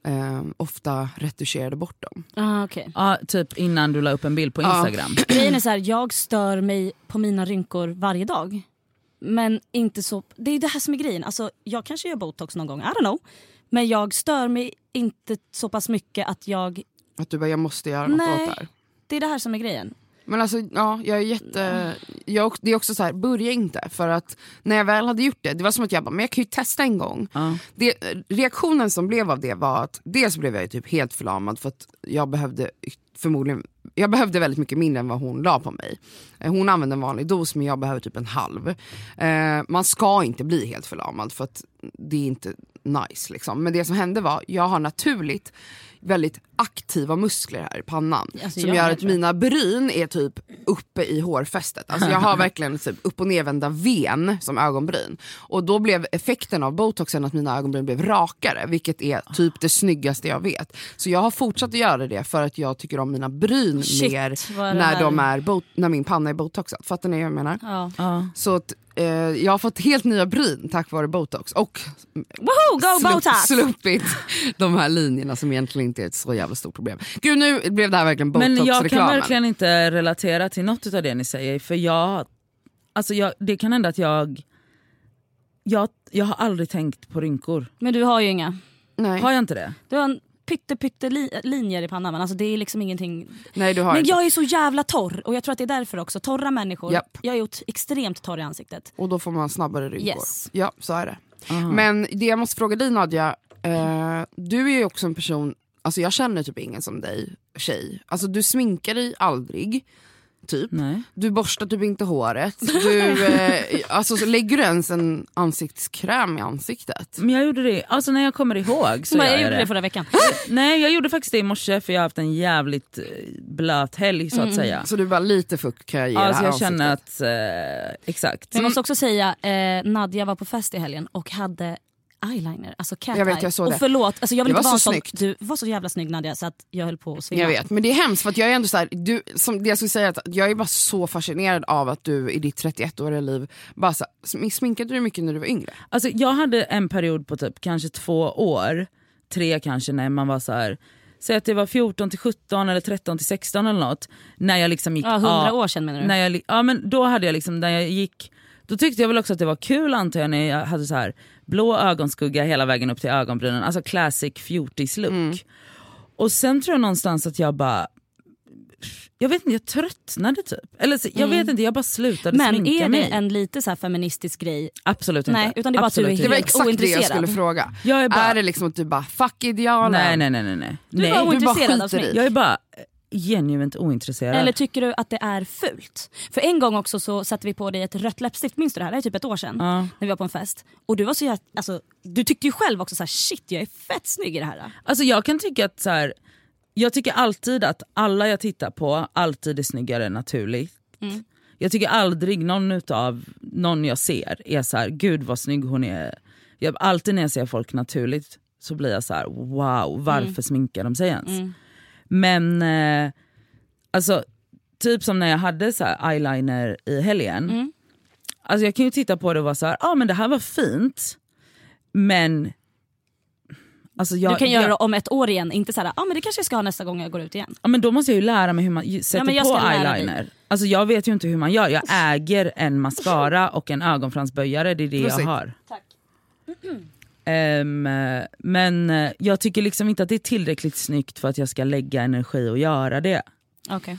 Speaker 4: ehm, ofta retuscherade bort dem.
Speaker 2: Ah, okay.
Speaker 3: Ja, typ innan du la upp en bild på
Speaker 4: Ja.
Speaker 3: Instagram.
Speaker 2: Grejen är så här, jag stör mig på mina rynkor varje dag. Men inte så... Det är det här som är grejen. Alltså, jag kanske gör botox någon gång, I don't know. Men jag stör mig inte så pass mycket att jag...
Speaker 4: Att du bara, jag måste göra något
Speaker 2: Nej.
Speaker 4: åt det här.
Speaker 2: Det är det här som är grejen.
Speaker 4: Men alltså, ja, jag är jätte... Jag, det är också så här, börja inte. För att när jag väl hade gjort det, det var som att jag bara, men jag kan ju testa en gång.
Speaker 3: Ja.
Speaker 4: Det, reaktionen som blev av det var att dels blev jag ju typ helt förlamad för att jag behövde förmodligen, jag behövde väldigt mycket mindre än vad hon la på mig. Eh, Hon använde en vanlig dos men jag behöver typ en halv. Eh, man ska inte bli helt förlamad för att det är inte nice liksom. Men det som hände var, jag har naturligt väldigt aktiva muskler här i pannan.
Speaker 2: Alltså,
Speaker 4: som
Speaker 2: jag
Speaker 4: gör
Speaker 2: med,
Speaker 4: att
Speaker 2: tror jag.
Speaker 4: mina bryn är typ uppe i hårfästet. Alltså jag har verkligen typ upp och nervända ven som ögonbryn. Och då blev effekten av botoxen att mina ögonbryn blev rakare, vilket är typ det snyggaste jag vet. Så jag har fortsatt att göra det för att jag tycker om mina bryn
Speaker 2: Shit,
Speaker 4: mer
Speaker 2: vad det
Speaker 4: när,
Speaker 2: här-
Speaker 4: de är bot- när min panna är botoxad. Fattar ni vad jag menar?
Speaker 2: Ja.
Speaker 3: Ja.
Speaker 4: Så att, eh, jag har fått helt nya bryn tack vare botox och
Speaker 2: Woho, go
Speaker 4: slupp-
Speaker 2: botox!
Speaker 4: sluppit de här linjerna som egentligen inte är ett så jävla stort problem. Gud nu blev det här verkligen
Speaker 3: Men jag kan
Speaker 4: botox-reklamen.
Speaker 3: verkligen inte relatera till något av det ni säger för jag, alltså jag, det kan hända att jag, jag, jag har aldrig tänkt på rynkor.
Speaker 2: Men du har ju inga.
Speaker 4: Nej.
Speaker 3: Har jag inte det?
Speaker 2: Du har en pytte, pytte li- linjer i pannan men alltså det är liksom ingenting.
Speaker 4: Nej du har
Speaker 2: Men
Speaker 4: inte.
Speaker 2: jag är så jävla torr och jag tror att det är därför också. Torra människor.
Speaker 4: Japp.
Speaker 2: Jag är ot- extremt torr i ansiktet.
Speaker 4: Och då får man snabbare rynkor.
Speaker 2: Yes.
Speaker 4: Ja, så är det. Men det jag måste fråga dig Nadja, eh, du är ju också en person, alltså jag känner typ ingen som dig tjej. Alltså du sminkar dig aldrig. Typ.
Speaker 2: Mm.
Speaker 3: Nej.
Speaker 4: Du borstar typ inte håret. Du, eh, alltså, så lägger du ens en ansiktskräm i
Speaker 2: Mm.
Speaker 4: ansiktet?
Speaker 3: Men jag gjorde det, alltså när jag kommer ihåg så
Speaker 2: Men jag
Speaker 3: gör jag
Speaker 2: gjorde det
Speaker 3: det.
Speaker 2: förra veckan.
Speaker 3: Nej jag gjorde faktiskt det i morse för jag har haft en jävligt eh, blöt helg så att säga.
Speaker 4: Mm. Så du bara lite fukt kan jag ge det
Speaker 3: Alltså
Speaker 4: här
Speaker 3: jag känner
Speaker 4: ansiktet.
Speaker 3: att, eh, exakt.
Speaker 2: Men jag måste också säga, eh, Nadja var på fest i helgen och hade eyeliner, alltså cat
Speaker 4: Jag vet,
Speaker 2: eye.
Speaker 4: jag såg
Speaker 2: och
Speaker 4: det.
Speaker 2: förlåt, alltså jag vill
Speaker 4: Det
Speaker 2: inte
Speaker 4: var
Speaker 2: vara en
Speaker 4: så
Speaker 2: sån,
Speaker 4: snyggt.
Speaker 2: du var så jävla snygg Nadja så att jag höll på att svimma.
Speaker 4: Jag vet, men det är hemskt för att jag är ändå så här, du, som det jag skulle säga, är att jag är bara så fascinerad av att du i ditt 31-åriga liv, bara så, här, sminkade du dig mycket när du var yngre?
Speaker 3: Alltså jag hade en period på typ kanske två år, tre kanske när man var så här. säg att det var 14 till 17 eller 13 till 16 eller något. När jag liksom gick
Speaker 2: Ja, hundra
Speaker 3: av-
Speaker 2: år sedan menar du?
Speaker 3: när jag, li- ja, men då hade jag liksom, när jag gick, då tyckte jag väl också att det var kul antar jag när jag hade så här blå ögonskugga hela vägen upp till ögonbrynen, alltså classic fjortis-look.
Speaker 2: Mm.
Speaker 3: Och sen tror jag någonstans att jag bara, jag vet inte, jag tröttnade typ. Eller så, jag vet inte, jag bara slutade
Speaker 2: Mm. Men är
Speaker 3: sminka
Speaker 2: det
Speaker 3: mig.
Speaker 2: en lite så här feministisk grej?
Speaker 3: Absolut inte.
Speaker 2: Nej, utan det är bara att du
Speaker 3: Absolut
Speaker 2: är
Speaker 3: inte.
Speaker 4: Det var
Speaker 2: Helt
Speaker 4: exakt det jag
Speaker 2: ointresserad.
Speaker 4: skulle fråga.
Speaker 3: Jag är bara-
Speaker 4: Är det liksom att du bara fuck indianer?
Speaker 3: Nej nej nej nej. nej.
Speaker 2: Du var
Speaker 3: nej.
Speaker 4: bara
Speaker 2: ointresserad av
Speaker 4: skiter i.
Speaker 2: smink.
Speaker 3: Jag är bara eh, genuint ointresserad.
Speaker 2: Eller tycker du att det är fult? För en gång också så satte vi på dig ett rött läppstift, minns du det här? Det är typ ett år sedan. När vi var på en fest. Och du var så jätt, alltså, du tyckte ju själv också så här, shit jag är fett snygg i det här.
Speaker 3: Alltså jag kan tycka att så här, jag tycker alltid att alla jag tittar på alltid är snyggare naturligt.
Speaker 2: Mm.
Speaker 3: Jag tycker aldrig någon utav någon jag ser är så här, gud vad snygg hon är. Jag, alltid när jag ser folk naturligt så blir jag så här, wow varför
Speaker 2: Mm.
Speaker 3: sminkar de sig ens? Men eh, alltså typ som när jag hade så här eyeliner i helgen.
Speaker 2: Mm.
Speaker 3: Alltså jag kan ju titta på det och vara så här, ah, men det här var fint. Men alltså jag,
Speaker 2: Du kan göra
Speaker 3: jag,
Speaker 2: det om ett år igen, inte så här, ah, men det kanske jag ska ha nästa gång jag går ut igen.
Speaker 3: Ja, men då måste jag ju lära mig hur man ju- sätter
Speaker 2: men jag
Speaker 3: på
Speaker 2: ska lära dig.
Speaker 3: eyeliner. Alltså, jag vet ju inte hur man gör. Jag äger en mascara och en ögonfransböjare, det är det
Speaker 4: Prosit.
Speaker 3: jag har.
Speaker 2: Tack.
Speaker 3: Ehm, eh, men eh, jag tycker liksom inte att det är tillräckligt snyggt för att jag ska lägga energi och göra det.
Speaker 2: Okej.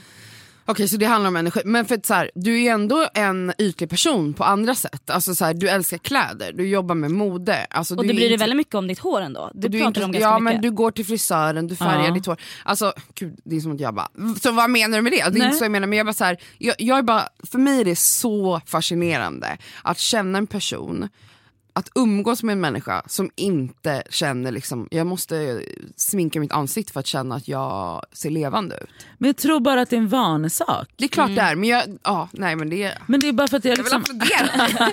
Speaker 4: Okej så det handlar om energi. Men för att så här, du är ju ändå en ytlig person på andra sätt. Alltså så här, du älskar kläder, du jobbar med mode. Alltså,
Speaker 2: Och
Speaker 4: du
Speaker 2: du
Speaker 4: är
Speaker 2: bryr dig
Speaker 4: inte-
Speaker 2: väldigt mycket om ditt hår ändå. Det
Speaker 4: och är
Speaker 2: pratar
Speaker 4: inte-
Speaker 2: du om ganska
Speaker 4: ja, men
Speaker 2: mycket.
Speaker 4: du går till frisören, du färgar
Speaker 3: Ja.
Speaker 4: ditt hår. Alltså, gud, det är som att jag bara, så vad menar du med det? Det är inte så jag menar, men jag bara så här, jag, jag är bara, för mig är det så fascinerande att känna en person, att umgås med en människa som inte känner liksom, jag måste sminka mitt ansikte för att känna att jag ser levande ut.
Speaker 3: Men jag tror bara att det är en vanesak.
Speaker 4: Det är
Speaker 2: Mm.
Speaker 4: klart det är, men jag, ja, nej men det är
Speaker 3: Men det är bara för att jag
Speaker 4: jag
Speaker 3: liksom...
Speaker 4: vill applådera.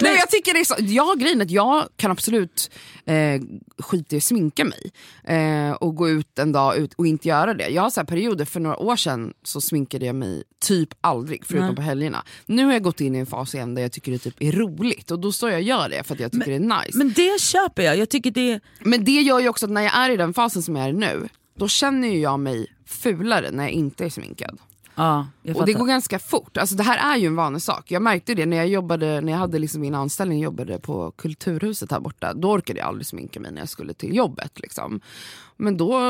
Speaker 4: Nej, jag tycker det är så. Jag, grejen är att jag kan absolut eh, skita i att sminka mig eh, och gå ut en dag ut och inte göra det. Jag har så här perioder, för några år sedan så sminkade jag mig typ aldrig förutom på helgerna. Nu har jag gått in i en fas igen där jag tycker det typ är roligt och då står jag och gör det för att jag tycker det är nice. Men,
Speaker 3: Men det köper jag. Jag tycker det är...
Speaker 4: det gör ju också att när jag är i den fasen som jag är nu, då känner ju jag mig fulare när jag inte är sminkad.
Speaker 3: Ja, jag
Speaker 4: Och det
Speaker 3: fattar.
Speaker 4: går ganska fort. Alltså det här är ju en vanesak. Jag märkte det när jag jobbade, när jag hade liksom min anställning jag jobbade på Kulturhuset här borta. Då orkade jag aldrig sminka mig när jag skulle till jobbet. Liksom. Men då,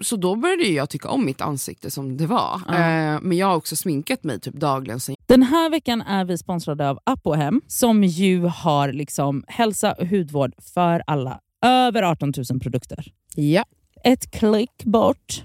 Speaker 4: så då började ju jag tycka om mitt ansikte som det var. Eh, men jag har också sminkat mig typ dagligen sen
Speaker 3: Den här veckan är vi sponsrade av Apohem som ju har liksom hälsa och hudvård för alla. Över 18 000 produkter.
Speaker 4: ja.
Speaker 3: ett klick bort.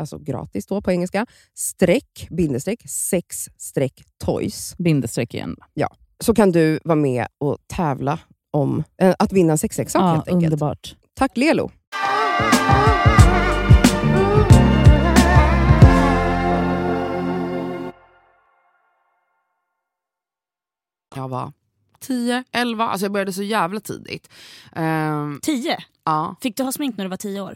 Speaker 5: alltså gratis då på engelska, streck, bindestreck, sex streck toys.
Speaker 3: Bindestreck igen.
Speaker 5: Så kan du vara med och tävla om eh, att vinna en sexleksak
Speaker 3: Ja,
Speaker 5: helt enkelt.
Speaker 3: underbart.
Speaker 5: Tack Lelo!
Speaker 4: Jag var 10, 11, alltså jag började så jävla tidigt. Ehm,
Speaker 2: Tio?
Speaker 4: ja,
Speaker 2: Fick du ha smink när du var tio år?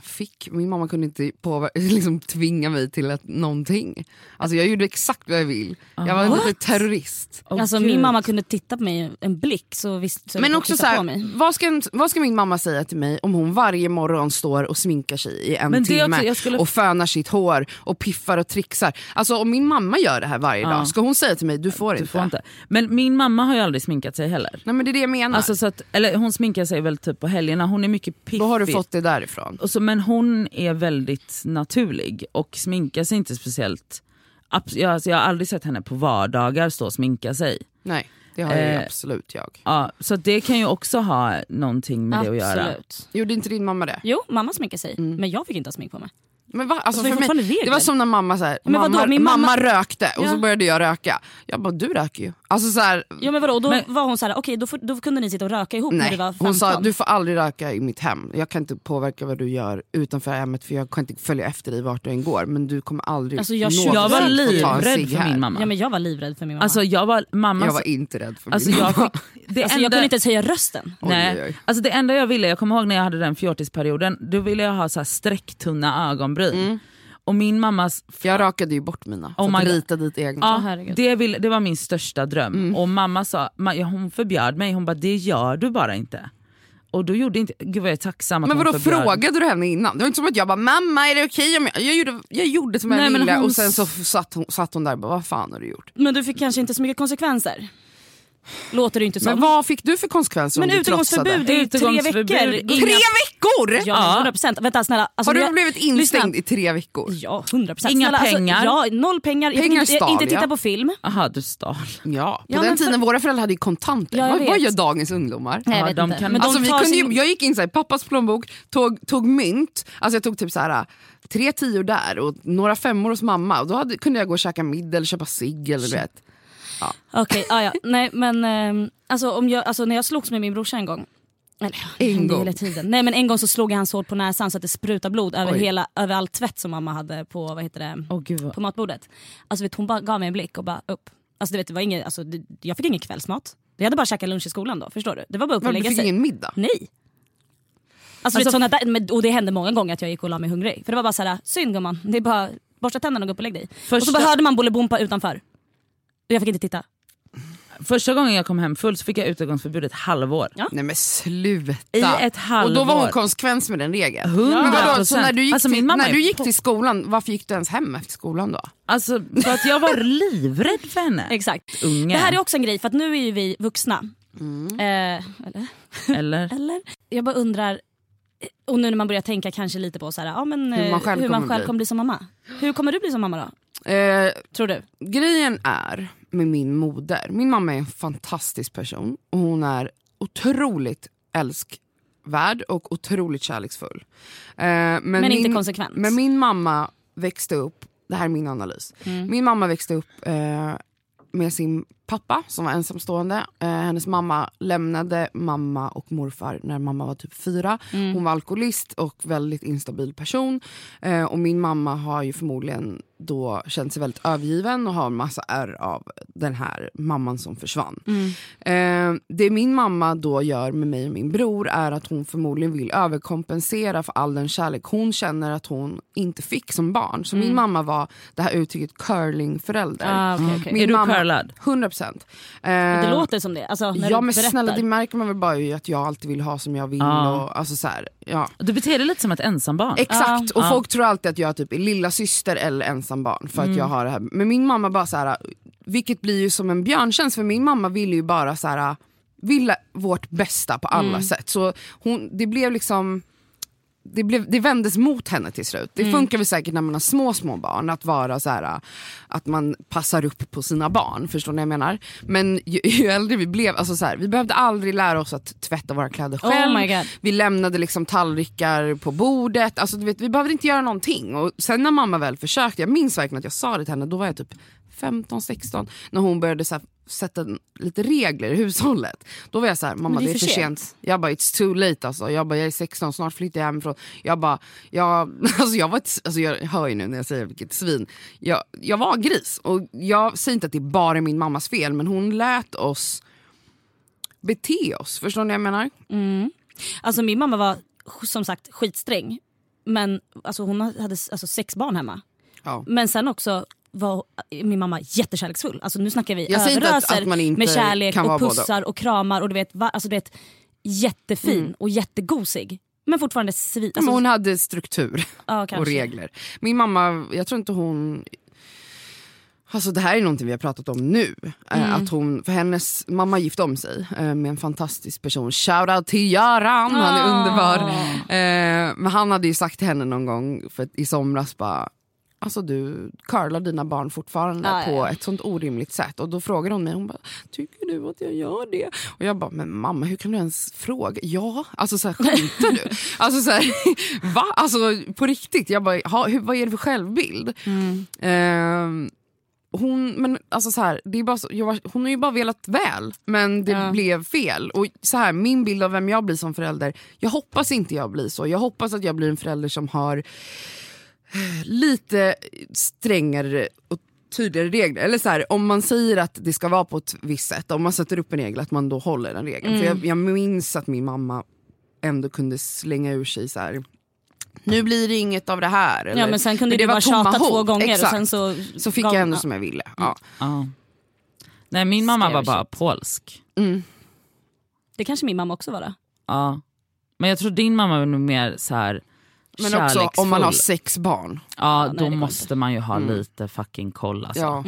Speaker 4: fick, min mamma kunde inte påver- liksom tvinga mig till att, någonting. Alltså jag gjorde exakt vad jag vill. Jag var en liten terrorist.
Speaker 3: Åh,
Speaker 2: alltså,
Speaker 3: gud.
Speaker 2: min mamma kunde titta på mig i en blick så visst så
Speaker 4: Men
Speaker 2: hon
Speaker 4: också
Speaker 2: tittade
Speaker 4: så
Speaker 2: på mig.
Speaker 4: här, vad, ska, en- vad ska min mamma säga till mig om hon varje morgon står och sminkar sig i en
Speaker 3: Men det är
Speaker 4: timme
Speaker 3: också- jag skulle-
Speaker 4: och fönar sitt hår och piffar och trixar. Alltså om min mamma gör det här varje dag, ska hon säga till mig du får,
Speaker 3: Du
Speaker 4: inte.
Speaker 3: får inte. Men min mamma har ju aldrig sminkat sig heller.
Speaker 4: Nej men det är det jag menar.
Speaker 3: Alltså så att, eller hon sminkar sig väl typ på helgerna, hon är mycket piffig.
Speaker 4: Då har du fått det därifrån.
Speaker 3: och så, men hon är väldigt naturlig och sminkar sig inte speciellt. Abs- Jag, alltså, jag har aldrig sett henne på vardagar stå och sminka sig.
Speaker 4: Nej, det har jag ju
Speaker 3: Eh.
Speaker 4: absolut jag.
Speaker 3: Ja, så det kan ju också ha någonting
Speaker 4: Mm,
Speaker 3: med det att göra.
Speaker 2: Absolut.
Speaker 4: Gjorde inte din mamma det?
Speaker 2: Jo, mamma sminkade sig.
Speaker 4: Mm.
Speaker 2: Men jag fick inte ha smink på mig.
Speaker 4: Men va? Alltså
Speaker 2: Alltså, det är
Speaker 4: för mig,
Speaker 2: fortfarande regler.
Speaker 4: det var som när mamma, så här,
Speaker 2: Men vadå,
Speaker 4: mamma,
Speaker 2: min
Speaker 4: mamma
Speaker 2: mamma-
Speaker 4: rökte och så
Speaker 2: Ja.
Speaker 4: började jag röka. Jag bara, du röker ju. Alltså så här,
Speaker 2: Ja, men vadå? Då
Speaker 3: Men-
Speaker 2: var hon så här, okej då, får- då kunde ni sitta och röka ihop när du
Speaker 4: nej.
Speaker 2: var 15.
Speaker 4: Hon sa, du får aldrig röka i mitt hem. Jag kan inte påverka vad du gör utanför hemmet för jag kan inte följa efter dig vart du än går. Men du kommer aldrig
Speaker 2: Alltså, jag
Speaker 4: någonsin
Speaker 3: Jag
Speaker 4: få ta
Speaker 3: var
Speaker 4: en
Speaker 3: livrädd
Speaker 4: cigg
Speaker 3: för
Speaker 4: här.
Speaker 3: min
Speaker 2: Ja,
Speaker 3: mamma.
Speaker 2: men jag var livrädd för min mamma.
Speaker 3: Alltså jag var, mamma,
Speaker 4: Jag var inte rädd för
Speaker 3: alltså,
Speaker 4: min
Speaker 3: jag
Speaker 4: mamma.
Speaker 3: fick, det
Speaker 2: Alltså, jag kunde inte ens höja rösten.
Speaker 4: Oj,
Speaker 3: Nej.
Speaker 4: oj, oj.
Speaker 3: Alltså det enda jag ville, jag kommer ihåg när jag hade den fjortisperioden, då ville jag ha så här strecktunna ögonbryn.
Speaker 4: Mm.
Speaker 3: Och min mammas...
Speaker 4: Jag rakade ju bort mina
Speaker 3: Oh
Speaker 4: för att
Speaker 3: my God.
Speaker 4: rita dit egna.
Speaker 3: Ja,
Speaker 2: herregud.
Speaker 3: det, ville, det var min största dröm.
Speaker 4: Mm.
Speaker 3: Och mamma sa, ma, ja, hon förbjöd mig, hon bara det gör du bara inte. Och då gjorde inte, gud vad jag är tacksam att
Speaker 4: Men
Speaker 3: hon
Speaker 4: vadå
Speaker 3: förbjöd.
Speaker 4: frågade du henne innan? Det var inte som att jag bara mamma är det okej om jag... Jag gjorde, jag gjorde som jag
Speaker 3: Nej, men
Speaker 4: ville
Speaker 3: hon
Speaker 4: och sen så
Speaker 3: s-
Speaker 4: f- satt hon, satt hon där och bara vad fan har du gjort?
Speaker 2: Men du fick kanske inte så mycket konsekvenser. Låter det ju inte som.
Speaker 4: Men vad fick du för konsekvenser
Speaker 2: Men
Speaker 4: om du trotsade?
Speaker 2: utgångsförbud i tre
Speaker 3: Utegångsförbud.
Speaker 2: veckor.
Speaker 3: Tre
Speaker 4: Tre
Speaker 2: Inga-
Speaker 4: veckor!
Speaker 2: Ja, 100 procent. Vänta snälla. Alltså,
Speaker 4: Har du
Speaker 2: jag-
Speaker 4: blivit instängd
Speaker 2: lyssna.
Speaker 4: i tre veckor?
Speaker 2: Ja, 100 procent.
Speaker 3: Inga pengar.
Speaker 2: Alltså, ja, noll pengar. Jag fick
Speaker 4: Pengar
Speaker 2: inte, jag,
Speaker 4: stal
Speaker 2: inte titta
Speaker 4: jag.
Speaker 2: på film.
Speaker 3: Aha, du stal.
Speaker 4: Ja, på
Speaker 2: Ja,
Speaker 4: den
Speaker 2: men för-
Speaker 4: tiden våra föräldrar hade ju kontanter.
Speaker 2: Ja, jag
Speaker 4: vad, vad
Speaker 2: vet.
Speaker 4: gör dagens ungdomar?
Speaker 3: jag vet de inte. kan-
Speaker 2: Men de
Speaker 4: Alltså, vi
Speaker 2: tar
Speaker 4: kunde
Speaker 2: sin-
Speaker 4: ju, jag gick in så här, i pappas plånbok, tog, tog mynt, alltså jag tog typ så här, tre tior där och några femmor hos mamma. Och då hade, kunde jag gå och käka middag eller köpa cigg. eller du vet.
Speaker 2: Okej, ah, ja. Nej men ehm, alltså, om jag, alltså när jag slogs med min brorsa en gång. Eller, det
Speaker 4: En
Speaker 2: hände
Speaker 4: gång.
Speaker 2: Hela tiden. Nej men en gång så slog jag hans hår på näsan så att det sprutade blod över,
Speaker 4: Oj.
Speaker 2: hela, över all tvätt som mamma hade på, vad heter det,
Speaker 3: Åh gud vad...
Speaker 2: på matbordet. Alltså vet, hon bara gav mig en blick och bara upp. Alltså, du vet, det var inget, alltså, det, jag fick ingen kvällsmat. Jag hade bara käkat lunch i skolan då, förstår du? Det var bara upp och
Speaker 4: Men du
Speaker 2: lägga
Speaker 4: fick
Speaker 2: sig.
Speaker 4: ingen middag?
Speaker 2: Nej. Alltså, vet, såna där, men, och det hände många gånger att jag gick och la mig hungrig. För det var bara såhär, synd gumman, det är bara borsta tänderna och gå upp och lägg dig. Och
Speaker 3: Första-
Speaker 2: så bara hörde man Bolibompa utanför. Och jag fick inte titta.
Speaker 3: Första gången jag kom hem full så fick jag utegångsförbud ett halvår.
Speaker 2: Ja.
Speaker 4: Nej men sluta.
Speaker 3: I ett halvår.
Speaker 4: Och då var hon konsekvens med den regeln.
Speaker 3: 100
Speaker 4: Men vadå, så när du gick,
Speaker 3: alltså,
Speaker 4: till,
Speaker 3: min mamma
Speaker 4: när
Speaker 3: är
Speaker 4: du gick
Speaker 3: på-
Speaker 4: till skolan, varför gick du ens hem efter skolan då?
Speaker 3: Alltså, för att jag var livrädd för henne.
Speaker 2: Exakt.
Speaker 3: Unge.
Speaker 2: Det här är också en grej för att nu är ju vi vuxna.
Speaker 4: Mm.
Speaker 2: Eh, eller?
Speaker 3: Eller?
Speaker 2: eller? Jag bara undrar, och nu när man börjar tänka kanske lite på så här, ja, men,
Speaker 4: Hur
Speaker 2: eh,
Speaker 4: man själv
Speaker 2: hur man
Speaker 4: kommer
Speaker 2: själv
Speaker 4: bli.
Speaker 2: kommer bli som mamma. Hur kommer du bli som mamma då?
Speaker 4: Eh,
Speaker 2: Tror du?
Speaker 4: grejen är med min moder, min mamma är en fantastisk person och hon är otroligt älskvärd och otroligt kärleksfull. Eh, men
Speaker 2: Men inte
Speaker 4: min-
Speaker 2: konsekvent.
Speaker 4: Men min mamma växte upp, det här är min analys,
Speaker 2: Mm.
Speaker 4: min mamma växte upp eh, med sin pappa som var ensamstående. Eh, hennes mamma lämnade mamma och morfar när mamma var typ fyra.
Speaker 2: Mm.
Speaker 4: Hon var alkoholist och väldigt instabil person. Eh, och min mamma har ju förmodligen då känt sig väldigt övergiven och har en massa ärr av den här mamman som försvann.
Speaker 2: Mm.
Speaker 4: Eh, det min mamma då gör med mig och min bror är att hon förmodligen vill överkompensera för all den kärlek hon känner att hon inte fick som barn. Så min mamma var det här uttrycket curlingförälder.
Speaker 2: Mm. Ah, okej, okej.
Speaker 4: Min
Speaker 3: Är du curlad?
Speaker 4: 100 procent. Eh,
Speaker 2: Det låter som det. Alltså, när
Speaker 4: ja
Speaker 2: du
Speaker 4: men
Speaker 2: berättar.
Speaker 4: snälla det märker man väl bara ju att jag alltid vill ha som jag vill.
Speaker 3: Ja.
Speaker 4: Och, alltså, så här, ja.
Speaker 3: Du beter dig lite som ett ensambarn.
Speaker 4: Exakt, och
Speaker 3: Ja.
Speaker 4: folk tror alltid att jag typ är lilla syster eller ensam barn för att
Speaker 3: Mm.
Speaker 4: jag har det här. Men min mamma bara så här, vilket blir ju som en björntjänst för min mamma ville ju bara så här, ville vårt bästa på alla
Speaker 3: Mm.
Speaker 4: sätt. Så hon, det blev liksom det, blev, det vändes mot henne till slut. Det
Speaker 2: Mm.
Speaker 4: funkar väl säkert när man har små, små barn att vara så här, att man passar upp på sina barn. Förstår ni vad jag menar? Men ju, ju äldre vi blev, alltså så här, vi behövde aldrig lära oss att tvätta våra kläder
Speaker 2: Oh
Speaker 4: själv.
Speaker 2: my God.
Speaker 4: Vi lämnade liksom tallrikar på bordet. Alltså, du vet, vi behövde inte göra någonting. Och sen när mamma väl försökte, jag minns verkligen att jag sa det till henne, då var jag typ 15-16 när hon började så här, sätta en- lite regler i hushållet. Då var jag så här, mamma
Speaker 2: det
Speaker 4: det
Speaker 2: är
Speaker 4: är
Speaker 2: för
Speaker 4: för sent. Jag bara it's too late alltså. Jag bara jag är 16, snart flyttar jag hemifrån. Jag bara, jag, alltså jag var ett, alltså jag hör ju nu när jag säger vilket svin. Jag, jag var gris och jag säger inte att det bara är min mammas fel men hon lät oss bete oss. Förstår ni vad jag menar?
Speaker 2: Alltså min mamma var som sagt skitsträng. Men alltså, hon hade alltså, sex barn hemma.
Speaker 4: Ja.
Speaker 2: Men sen också var min mamma jättekärleksfull. Alltså nu snackar vi
Speaker 4: Jag säger inte att-
Speaker 2: överöser
Speaker 4: att man inte
Speaker 2: med kärlek
Speaker 4: kan vara
Speaker 2: och
Speaker 4: båda.
Speaker 2: pussar och kramar och du vet, va, alltså, du vet jättefin och jättegosig. Men fortfarande svin. Alltså,
Speaker 4: Mm. Men hon hade struktur.
Speaker 2: ja, kanske.
Speaker 4: och regler. Min mamma, jag tror inte hon... Alltså det här är någonting vi har pratat om nu. Eh,
Speaker 2: Mm.
Speaker 4: Att hon, för hennes mamma gifte om sig eh, med en fantastisk person. Shoutout till Göran, han är
Speaker 2: Ah.
Speaker 4: underbar. Eh, Men han hade ju sagt till henne någon gång för, i somras bara Alltså du curlar dina barn fortfarande
Speaker 2: Ja, ja,
Speaker 4: på
Speaker 2: ja.
Speaker 4: ett sånt orimligt sätt. Och då frågar hon mig, hon bara, tycker du att jag gör det? Och jag bara, men mamma hur kan du ens fråga? Ja, alltså så här, skämtar du? Alltså så här, va? Alltså på riktigt, jag bara, ha, hur, vad är det för självbild?
Speaker 2: Mm.
Speaker 4: Ehm, hon, men alltså så här, det är bara så, jag var, hon har ju bara velat väl, men det
Speaker 2: Ja.
Speaker 4: blev fel. Och så här, Min bild av vem jag blir som förälder, jag hoppas inte jag blir så. Jag hoppas att jag blir en förälder som har eh, lite strängare och tydligare regler. Eller så här, om man säger att det ska vara på ett visst sätt, om man sätter upp en regel, att man då håller den regeln.
Speaker 2: Mm.
Speaker 4: För jag, jag minns att min mamma ändå kunde slänga ur sig så här. Nu blir det inget av det här. Eller,
Speaker 2: Ja, men sen kunde
Speaker 4: det
Speaker 2: du bara
Speaker 4: var tomma
Speaker 2: tjata två
Speaker 4: hot.
Speaker 2: gånger
Speaker 4: Exakt.
Speaker 2: och sen så... Mm.
Speaker 4: Så fick
Speaker 2: gav-
Speaker 4: jag ändå
Speaker 2: ja.
Speaker 4: som jag ville. Ja.
Speaker 3: Ja. Nej, min mamma
Speaker 2: Scary
Speaker 3: var bara polsk.
Speaker 2: Det kanske min mamma också var då.
Speaker 3: Ja. Men jag tror din mamma var nog mer så här
Speaker 4: Men också om man har
Speaker 3: kärleksfull.
Speaker 4: sex barn.
Speaker 3: Ja,
Speaker 2: nej,
Speaker 3: då
Speaker 2: det går
Speaker 3: måste man ju ha lite fucking koll. Alltså.
Speaker 4: Ja.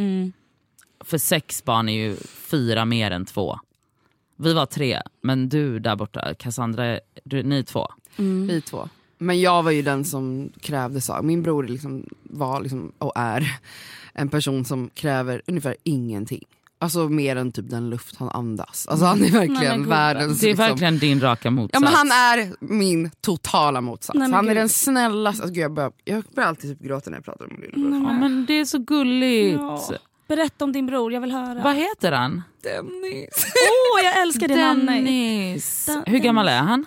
Speaker 3: För sex barn är ju fyra mer än två. Vi var tre, men du där borta, Cassandra, du, ni är två.
Speaker 4: Vi två. Mm. Men jag var ju den som krävde saker. Min bror liksom var liksom, och är en person som kräver ungefär ingenting. Alltså mer än typ den luft han andas. Alltså han är verkligen
Speaker 2: gubben.
Speaker 4: världens...
Speaker 3: Det är
Speaker 4: liksom-
Speaker 3: verkligen din raka motsats.
Speaker 4: Ja, men han är min totala motsats.
Speaker 2: Nej, men
Speaker 4: han är
Speaker 2: gud.
Speaker 4: den snällaste. Alltså, gud, jag, börjar, jag börjar alltid typ gråta när jag pratar om min lillebror.
Speaker 3: Ja, men det är så gulligt.
Speaker 2: Ja. Berätta om din bror, jag vill höra.
Speaker 3: Vad heter han?
Speaker 4: Dennis!
Speaker 2: Åh, jag älskar det namnet!
Speaker 3: Dennis.
Speaker 2: Den-
Speaker 3: Hur gammal är han?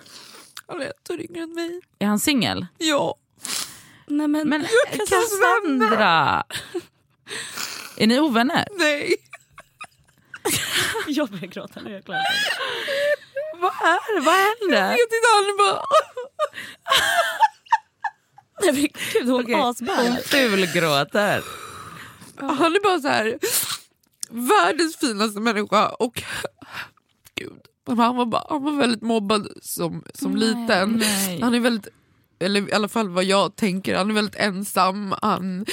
Speaker 4: Han är ett år yngre än mig.
Speaker 3: Är han singel?
Speaker 4: Ja.
Speaker 2: Nej, men,
Speaker 3: Men eh, Cassandra! Är ni ovänner?
Speaker 4: Nej.
Speaker 2: jag börjar gråta nu, jag är klar.
Speaker 3: Vad är det? Vad händer?
Speaker 4: Jag tittar han bara...
Speaker 2: Nej, men Gud, hon asbärar.
Speaker 3: Hon fulgråter.
Speaker 4: Han är bara så här... världens finaste människa. Och gud, men han var, bara, han var väldigt mobbad som, som liten.
Speaker 3: Nej.
Speaker 4: Han är väldigt, eller i alla fall vad jag tänker, han är väldigt ensam. Han,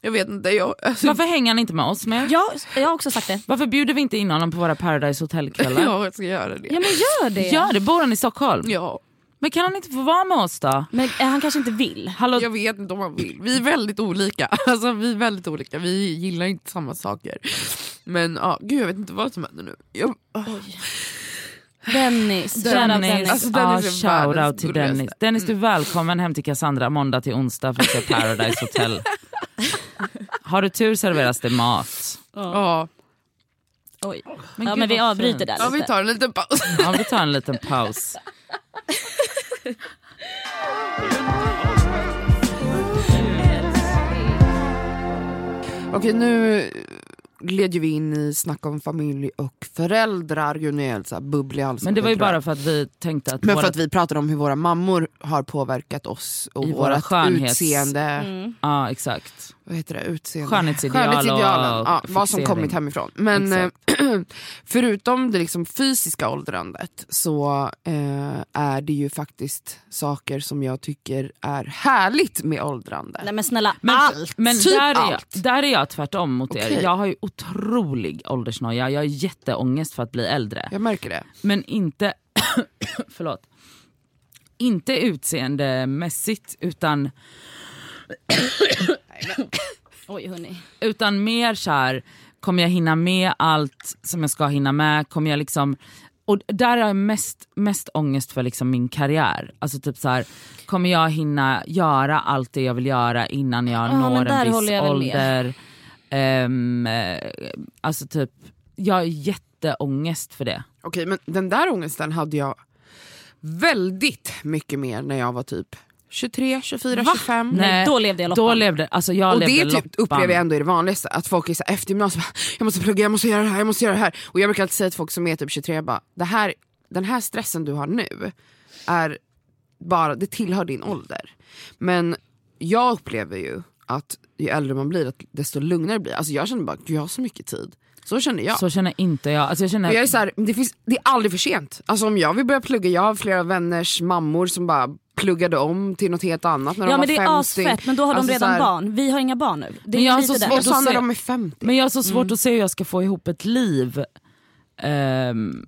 Speaker 4: jag vet inte, jag, alltså,
Speaker 3: Varför hänger han inte med oss mer?
Speaker 2: Jag, jag har också sagt det.
Speaker 3: Varför bjuder vi inte in honom på våra Paradise Hotel-kvällar?
Speaker 4: jag ska göra det.
Speaker 2: Ja men gör det!
Speaker 3: Gör det, bor han i Stockholm?
Speaker 4: Ja,
Speaker 3: Men kan han inte få vara med oss då?
Speaker 2: Men eh, han kanske inte vill.
Speaker 3: Hallå,
Speaker 4: jag vet inte om han vill. Vi är väldigt olika. Alltså, vi är väldigt olika. Vi gillar inte samma saker. Men ja, gud jag vet inte vad som händer nu. Jag,
Speaker 2: Dennis, kära
Speaker 3: Dennis.
Speaker 2: Dennis.
Speaker 4: Alltså,
Speaker 3: ah,
Speaker 4: Dennis är världens Mm.
Speaker 3: shout out till
Speaker 4: gulligaste.
Speaker 3: Dennis. Dennis du är välkommen hem till Cassandra måndag till onsdag för att se Paradise Hotel. Har du tur serveras det mat.
Speaker 4: ja.
Speaker 2: Oj.
Speaker 3: Men
Speaker 2: Ja
Speaker 3: gud,
Speaker 2: men vi
Speaker 3: vad
Speaker 2: avbryter
Speaker 3: fint.
Speaker 2: där
Speaker 4: ja, vi
Speaker 2: lite.
Speaker 4: tar en liten paus.
Speaker 3: Ja, vi tar en liten paus.
Speaker 4: Okej, nu gled ju vi in i snack om familj och föräldrar. Gud, nu är jag helt så här bubblig i halsen,
Speaker 3: Men det var ju
Speaker 4: tror jag.
Speaker 3: bara för att vi tänkte att,
Speaker 4: Men
Speaker 3: våra-
Speaker 4: för att vi pratar om hur våra mammor har påverkat oss och
Speaker 3: I våra
Speaker 4: vårt
Speaker 3: skönhets-
Speaker 4: utseende.
Speaker 2: Mm.
Speaker 3: ja, exakt.
Speaker 4: Vad heter det? Utseende.
Speaker 3: Skönhetsideal och-
Speaker 4: Skönhetsidealen,
Speaker 3: och
Speaker 4: ja, vad som
Speaker 3: fixering.
Speaker 4: kommit hemifrån. Men eh,
Speaker 3: Exakt.
Speaker 4: förutom det liksom fysiska åldrandet så eh, är det ju faktiskt saker som jag tycker är härligt med åldrande.
Speaker 2: Nej men snälla,
Speaker 3: Men,
Speaker 2: allt!
Speaker 3: Ah, men
Speaker 4: Typ
Speaker 3: där, är jag,
Speaker 4: allt.
Speaker 3: där är jag tvärtom mot
Speaker 4: Okej.
Speaker 3: er. Jag har ju otrolig åldersnoja. Jag har jätteångest för att bli äldre.
Speaker 4: Jag märker det.
Speaker 3: Men inte, förlåt, inte utseendemässigt utan,
Speaker 2: Oj hörni.
Speaker 3: utan mer så här, kommer jag hinna med allt som jag ska hinna med? Kommer jag liksom, och där har jag mest, mest ångest för liksom min karriär. Alltså typ så här, kommer jag hinna göra allt det jag vill göra innan jag
Speaker 2: Ja, men
Speaker 3: når
Speaker 2: där
Speaker 3: en viss
Speaker 2: håller jag väl med.
Speaker 3: ålder? Ehm, eh, alltså typ, jag har jätteångest för det.
Speaker 4: Okej, men den där ångesten hade jag väldigt mycket mer när jag var typ 23, 24, 25.
Speaker 2: Nej, då levde jag loppan.
Speaker 3: Då levde, alltså jag
Speaker 4: Och det
Speaker 3: levde
Speaker 4: är typ,
Speaker 3: loppan.
Speaker 4: upplever jag ändå är det vanligaste, att folk är så här, efter gymnasiet bara, jag måste plugga, jag måste göra det här, jag måste göra det här. Och jag brukar alltid säga till folk som är typ 23, jag bara, det här, den här stressen du har nu, är bara, det tillhör din ålder. Men jag upplever ju att ju äldre man blir, att desto lugnare blir Alltså jag känner bara, gud jag har så mycket tid. Så känner jag.
Speaker 3: Så känner inte jag. Alltså jag känner,
Speaker 4: Och jag är så här, det, finns, det är aldrig för sent. Alltså om jag vill börja plugga, jag har flera vänners mammor som bara pluggade om till något helt annat när
Speaker 2: Ja
Speaker 4: de var
Speaker 2: men det
Speaker 4: 50.
Speaker 2: är asfett men då har de
Speaker 4: Alltså,
Speaker 2: redan
Speaker 4: så här-
Speaker 2: barn. Vi har inga barn nu. Det
Speaker 3: Men jag
Speaker 2: är
Speaker 3: har
Speaker 2: lite
Speaker 3: så
Speaker 2: där. Alltså,
Speaker 3: svårt
Speaker 4: Och så Mm. när
Speaker 3: se-
Speaker 4: de är 50.
Speaker 3: Men jag har så svårt att se hur jag ska få ihop ett liv. Ehm,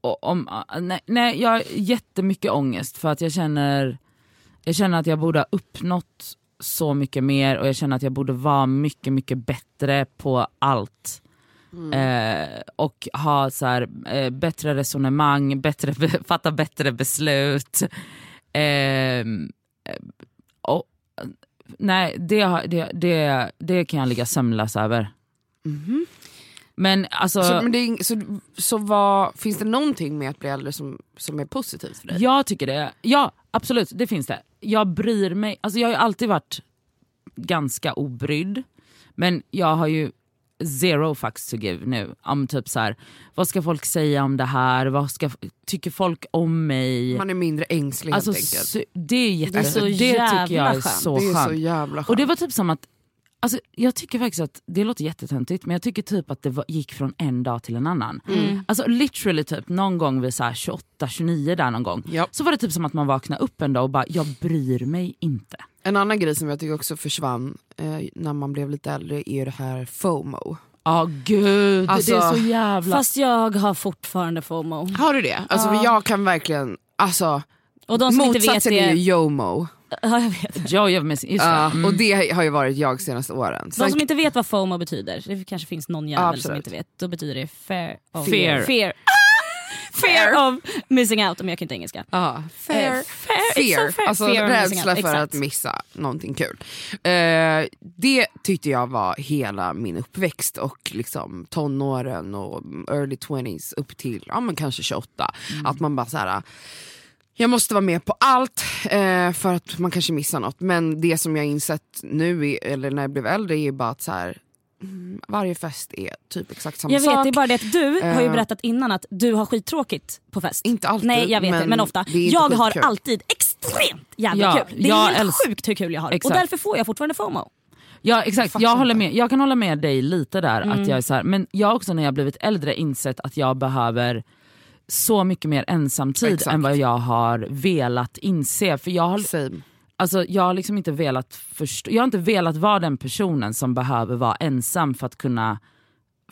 Speaker 3: och om, ah, nej, nej, jag har jättemycket ångest för att jag känner, jag känner att jag borde ha uppnått så mycket mer och jag känner att jag borde vara mycket, mycket bättre på allt. Eh, och ha så här, eh, bättre resonemang, bättre, be- fatta bättre beslut. Ehm, eh, och, nej, det, har- det, det, det kan jag ligga sömnlös över. Men alltså,
Speaker 4: Så, men det är, ing- så, så vad, finns det någonting med att bli äldre som, som är positivt för dig?
Speaker 3: jag tycker det. Ja, absolut, det finns det. Jag bryr mig. Alltså, jag har ju alltid varit ganska obrydd. Men jag har ju zero fucks to give nu. Om typ så här, vad ska folk säga om det här? Vad ska, tycker folk om mig?
Speaker 4: Man är mindre ängslig
Speaker 3: alltså,
Speaker 4: helt enkelt.
Speaker 3: sy- det är jätte,
Speaker 2: är så
Speaker 3: det tycker
Speaker 2: jävla
Speaker 3: jag är
Speaker 2: skönt.
Speaker 3: så
Speaker 4: det är
Speaker 3: skönt.
Speaker 4: så jävla skönt.
Speaker 3: Och det var typ som att, alltså, jag tycker faktiskt att, det låter jättetöntigt men jag tycker typ att det var, gick från en dag till en annan.
Speaker 4: Mm.
Speaker 3: Alltså literally typ någon gång vid så här 28, 29 där någon gång.
Speaker 4: Ja.
Speaker 3: Så var det typ som att man vaknade upp en dag och bara, jag bryr mig inte.
Speaker 4: En annan grej som jag tycker också försvann eh, när man blev lite äldre är ju det här FOMO.
Speaker 3: Ja gud,
Speaker 4: Alltså-
Speaker 3: det är så jävla...
Speaker 2: Fast jag har fortfarande FOMO.
Speaker 4: Har du det? Alltså för jag kan verkligen, alltså
Speaker 2: Och de som inte vet
Speaker 4: motsatsen
Speaker 2: det...
Speaker 4: är ju JOMO.
Speaker 2: Ja, jag vet.
Speaker 3: jag gör med, just det. Mm.
Speaker 4: Ja, Och det har ju varit jag senaste åren.
Speaker 2: De
Speaker 4: Sen,
Speaker 2: som inte vet Mm. vad FOMO betyder, det kanske finns någon jävel som
Speaker 4: Absolut.
Speaker 2: inte vet. Då betyder det fear of,
Speaker 3: Fear.
Speaker 2: Fear. fear of missing out om jag kan inte engelska.
Speaker 4: ja, fair.
Speaker 2: Eh, fair. It's
Speaker 4: ah, fear.
Speaker 2: so fair.
Speaker 4: Alltså
Speaker 2: fear of missing
Speaker 4: rädsla
Speaker 2: out.
Speaker 4: för
Speaker 2: Exakt.
Speaker 4: att missa någonting kul. Eh, det tyckte jag var hela min uppväxt och liksom tonåren och early 20s upp till ja, men kanske 28.
Speaker 2: Mm.
Speaker 4: Att man bara så här. Jag måste vara med på allt eh, för att man kanske missar något. Men det som jag insett nu, är, eller när jag blev äldre, är bara att så här, mm, varje fest är typ exakt samma
Speaker 2: Jag vet,
Speaker 4: sak.
Speaker 2: det är bara det att du har ju
Speaker 4: Eh.
Speaker 2: berättat innan att du har skittråkigt på fest.
Speaker 4: Inte alltid,
Speaker 2: Nej jag vet
Speaker 4: men
Speaker 2: det, men ofta.
Speaker 4: det är inte
Speaker 2: jag har
Speaker 4: skitkul.
Speaker 2: alltid extremt jävla
Speaker 3: Ja,
Speaker 2: kul. Det är
Speaker 3: jag
Speaker 2: helt
Speaker 3: älsk-
Speaker 2: sjukt hur kul jag har. Och
Speaker 3: Exakt.
Speaker 2: därför får jag fortfarande FOMO.
Speaker 3: Ja exakt,
Speaker 4: Fattar
Speaker 3: jag, håller
Speaker 4: inte.
Speaker 3: med. jag kan hålla med dig lite där. Att jag är så här, men jag har också när jag blivit äldre insett att jag behöver så mycket mer ensamtid
Speaker 4: Exakt.
Speaker 3: än vad jag har velat inse. För jag har,
Speaker 4: Same.
Speaker 3: alltså, jag har liksom inte velat förstå, jag har inte velat vara den personen som behöver vara ensam för att kunna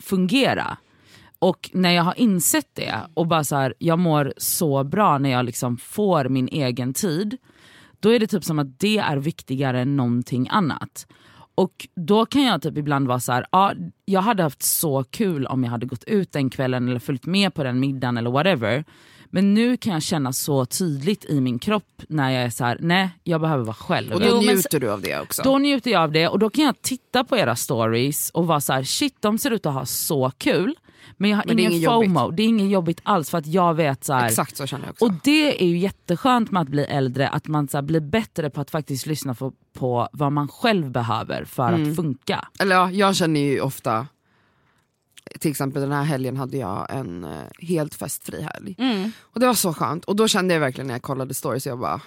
Speaker 3: fungera. Och när jag har insett det och bara så här, jag mår så bra när jag liksom får min egen tid. Då är det typ som att det är viktigare än någonting annat. Och då kan jag typ ibland vara så här, ja, jag hade haft så kul om jag hade gått ut den kvällen eller följt med på den middagen eller whatever. Men nu kan jag känna så tydligt i min kropp när jag är så här, nej jag behöver vara själv.
Speaker 4: Och då
Speaker 2: Jo, men
Speaker 4: njuter du av det också.
Speaker 3: Då njuter jag av det och då kan jag titta på era stories och vara så här: shit de ser ut att ha så kul. Men jag har
Speaker 4: Men det är
Speaker 3: ingen,
Speaker 4: ingen
Speaker 3: FOMO,
Speaker 4: jobbigt.
Speaker 3: det är ingen jobbigt alls för att jag vet så här.
Speaker 4: Exakt så känner jag också.
Speaker 3: Och det är ju jätteskönt med att bli äldre, att man så här, blir bättre på att faktiskt lyssna på, på vad man själv behöver för
Speaker 4: Mm.
Speaker 3: att funka.
Speaker 4: Eller ja, jag känner ju ofta, till exempel den här helgen hade jag en eh, helt festfri helg.
Speaker 2: Mm.
Speaker 4: Och det var så skönt. Och då kände jag verkligen när jag kollade stories, jag bara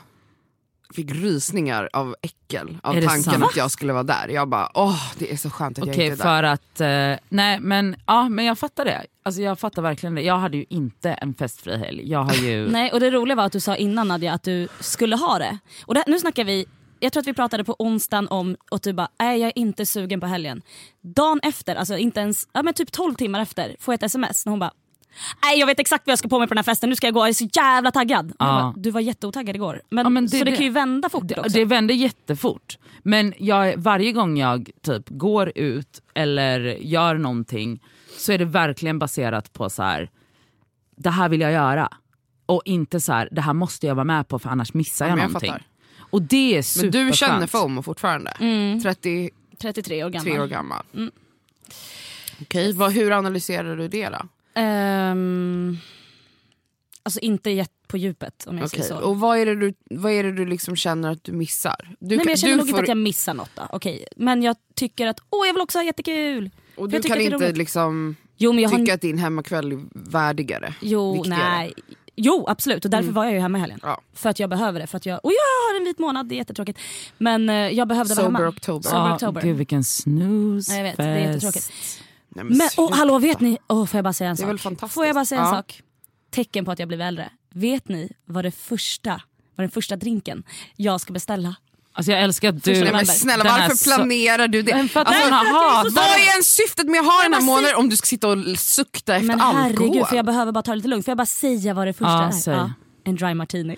Speaker 4: fick rysningar av äckel av
Speaker 3: Är det
Speaker 4: tanken
Speaker 3: sant?
Speaker 4: att jag skulle vara där. Jag bara åh det är så skönt att jag
Speaker 3: Okej
Speaker 4: inte är där.
Speaker 3: för att, eh, nej men, ja, men jag fattar det. Alltså, jag fattar verkligen det. Jag hade ju inte en festfri helg. Jag har ju...
Speaker 2: Nej, och det roliga var att du sa innan Nadja att du skulle ha det. Och det, nu snackar vi, jag tror att vi pratade på onsdagen om och du bara, nej jag är inte sugen på helgen. Dagen efter, alltså inte ens, ja men typ 12 timmar efter får jag ett sms när hon bara, nej jag vet exakt vad jag ska på mig på den här festen, nu ska jag gå, jag är så jävla taggad. Och jag
Speaker 3: Ja.
Speaker 2: Bara, du var jätteotaggad igår. Men,
Speaker 3: Ja, men det-
Speaker 2: så det,
Speaker 3: det-
Speaker 2: kan ju vända fort
Speaker 3: Det,
Speaker 2: också.
Speaker 3: det vänder jättefort. Men jag, varje gång jag typ går ut eller gör någonting så är det verkligen baserat på så här. det här vill jag göra. Och inte så här, det här måste jag vara med på för annars missar
Speaker 4: Ja,
Speaker 3: jag
Speaker 4: men jag
Speaker 3: någonting.
Speaker 4: fattar.
Speaker 3: och det är
Speaker 4: Men
Speaker 3: superskönt.
Speaker 4: du känner FOMO fortfarande? 33
Speaker 2: 33 Mm, år gammal.
Speaker 4: år Mm. gammal. Mm. Okej, vad, hur analyserar du det då?
Speaker 2: Ehm, alltså inte jätte på djupet om jag
Speaker 4: Okej,
Speaker 2: säger så.
Speaker 4: Och vad är det du, vad är det du liksom känner att du missar? Du,
Speaker 2: Nej,
Speaker 4: kan-
Speaker 2: men jag känner
Speaker 4: du
Speaker 2: nog inte
Speaker 4: får-
Speaker 2: att jag missar något då. Okej. Men jag tycker att åh jag vill också ha jättekul.
Speaker 4: och
Speaker 2: för
Speaker 4: du
Speaker 2: jag tycker
Speaker 4: kan
Speaker 2: att det är
Speaker 4: inte
Speaker 2: roligt.
Speaker 4: liksom
Speaker 2: Jo men jag har
Speaker 4: tycka att din hemmakväll är värdigare?
Speaker 2: Jo,
Speaker 4: viktigare. Mm.
Speaker 2: nej. Jo absolut och därför var jag ju hemma i helgen.
Speaker 4: Ja.
Speaker 2: För att jag behöver det. För att jag, och jag har en vit månad, det är jättetråkigt. Men eh, jag behövde vara
Speaker 4: Sober
Speaker 2: hemma.
Speaker 4: October.
Speaker 2: Sober
Speaker 3: Ja,
Speaker 2: October.
Speaker 3: gud vilken snooze
Speaker 2: Ja, jag vet, det är jättetråkigt.
Speaker 4: Nej,
Speaker 2: Men
Speaker 4: sluta.
Speaker 2: och hallå vet ni, oh, får jag bara säga en
Speaker 4: Det är
Speaker 2: sak?
Speaker 4: väl fantastiskt.
Speaker 2: Får jag bara säga en
Speaker 4: Ja.
Speaker 2: sak? Tecken på att jag blir äldre. Vet ni vad det första vad den första drinken jag ska beställa?
Speaker 3: Alltså jag älskar att du...
Speaker 2: Nej,
Speaker 4: Nej, men
Speaker 2: november.
Speaker 4: snälla
Speaker 3: Den här
Speaker 4: varför
Speaker 3: so-
Speaker 4: planerar du det?
Speaker 3: Men för att
Speaker 4: Alltså,
Speaker 3: hon har
Speaker 2: jag är så
Speaker 3: hatat
Speaker 4: vad är ens syftet med att ha den här
Speaker 2: men
Speaker 4: månaden om du ska sitta och sukta efter
Speaker 2: Men
Speaker 4: alkohol?
Speaker 2: herregud, för jag behöver bara ta det lite lugnt. Får jag bara säga vad det första
Speaker 3: Ja,
Speaker 2: är?
Speaker 3: säg.
Speaker 2: en dry martini.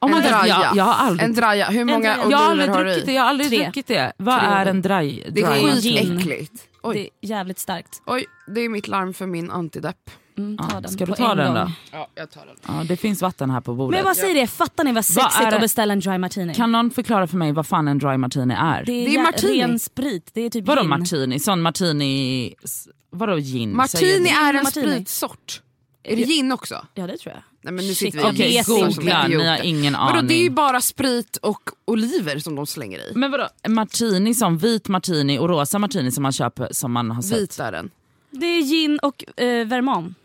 Speaker 3: Oh my
Speaker 4: en
Speaker 3: God, jag, jag har aldrig,
Speaker 4: En draja, hur många
Speaker 2: draja.
Speaker 3: jag har
Speaker 4: oliver
Speaker 3: aldrig
Speaker 4: har du
Speaker 3: druckit det.
Speaker 4: i?
Speaker 3: Jag har aldrig
Speaker 2: Tre.
Speaker 3: druckit det. Vad är en dry?
Speaker 4: Det är
Speaker 3: dry?
Speaker 2: Gin.
Speaker 4: skitäckligt.
Speaker 2: Det
Speaker 4: Oj.
Speaker 2: är jävligt starkt.
Speaker 4: Oj, det är mitt larm för min antidepp.
Speaker 2: Mm, ta
Speaker 3: Ja,
Speaker 2: den
Speaker 3: Ska du
Speaker 2: på
Speaker 3: ta
Speaker 2: en
Speaker 3: den
Speaker 2: gång.
Speaker 3: då?
Speaker 4: Ja, jag tar den.
Speaker 3: Ja, det finns vatten här på
Speaker 2: Men
Speaker 3: bordet.
Speaker 2: jag bara säger det, fattar ni vad
Speaker 3: Vad
Speaker 2: sexigt
Speaker 3: är det?
Speaker 2: att beställa en dry martini?
Speaker 3: Kan någon förklara för mig vad fan en dry martini är?
Speaker 2: det är,
Speaker 4: Det är
Speaker 2: jä-
Speaker 4: martini.
Speaker 2: ren sprit, det är typ
Speaker 3: Vadå
Speaker 2: gin.
Speaker 3: martini? Sån martini... s- Vadå gin?
Speaker 4: Martini
Speaker 2: Gin
Speaker 4: är
Speaker 2: och
Speaker 4: en
Speaker 2: martini.
Speaker 4: spritsort. Är det gin också?
Speaker 2: Ja det tror jag.
Speaker 4: Nej men nu
Speaker 2: Shit,
Speaker 4: sitter vi och
Speaker 2: okej,
Speaker 3: Okej,
Speaker 4: gissar som
Speaker 3: googla. Ni har
Speaker 4: idioter.
Speaker 3: ingen
Speaker 4: Vadå,
Speaker 3: aning.
Speaker 4: det är ju bara sprit och oliver som de slänger i.
Speaker 3: Men vadå, en martini som vit martini och rosa martini som man köper som man har sett?
Speaker 4: Vit är den.
Speaker 2: Det är gin och eh, vermont.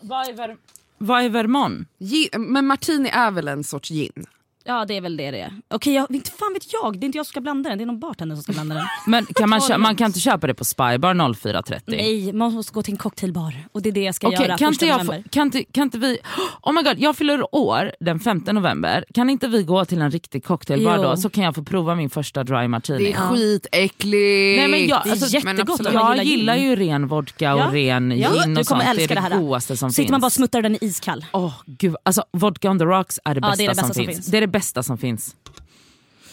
Speaker 3: Vad är, vad är Vermont?
Speaker 4: Gin, men martini är väl en sorts gin?
Speaker 2: Ja det är väl det det är. Okej, jag, inte fan vet jag, det är inte jag som ska blanda den, det är någon bartender som ska blanda den.
Speaker 3: Men kan man, kö- man kan inte köpa det på Spybar 0430?
Speaker 2: Nej, man måste gå till en cocktailbar och det är det jag ska
Speaker 3: Okej,
Speaker 2: göra
Speaker 3: kan,
Speaker 2: första
Speaker 3: inte jag få,
Speaker 2: november.
Speaker 3: kan, inte, kan inte vi... Oh my god, jag fyller år den 5 november. Kan inte vi gå till en riktig cocktailbar
Speaker 2: Jo.
Speaker 3: då så kan jag få prova min första dry martini?
Speaker 4: Det är skitäckligt.
Speaker 3: Nej, men jag,
Speaker 2: Det är
Speaker 3: alltså,
Speaker 2: jättegott
Speaker 4: men
Speaker 2: om
Speaker 4: absolut.
Speaker 2: man
Speaker 3: jag gillar
Speaker 2: gin.
Speaker 3: ju ren vodka och
Speaker 2: Ja.
Speaker 3: ren
Speaker 2: Ja.
Speaker 3: gin
Speaker 2: Du
Speaker 3: och
Speaker 2: kommer
Speaker 3: sånt.
Speaker 2: älska
Speaker 3: det
Speaker 2: det
Speaker 3: är
Speaker 2: här.
Speaker 3: det godaste som
Speaker 2: Sitter
Speaker 3: finns.
Speaker 2: man bara och smuttar den i iskall.
Speaker 3: Åh, gud. Alltså, vodka on the rocks är det bästa,
Speaker 2: Ja, det är det bästa
Speaker 3: som,
Speaker 2: som
Speaker 3: finns.
Speaker 2: finns.
Speaker 3: Det är det bästa som finns.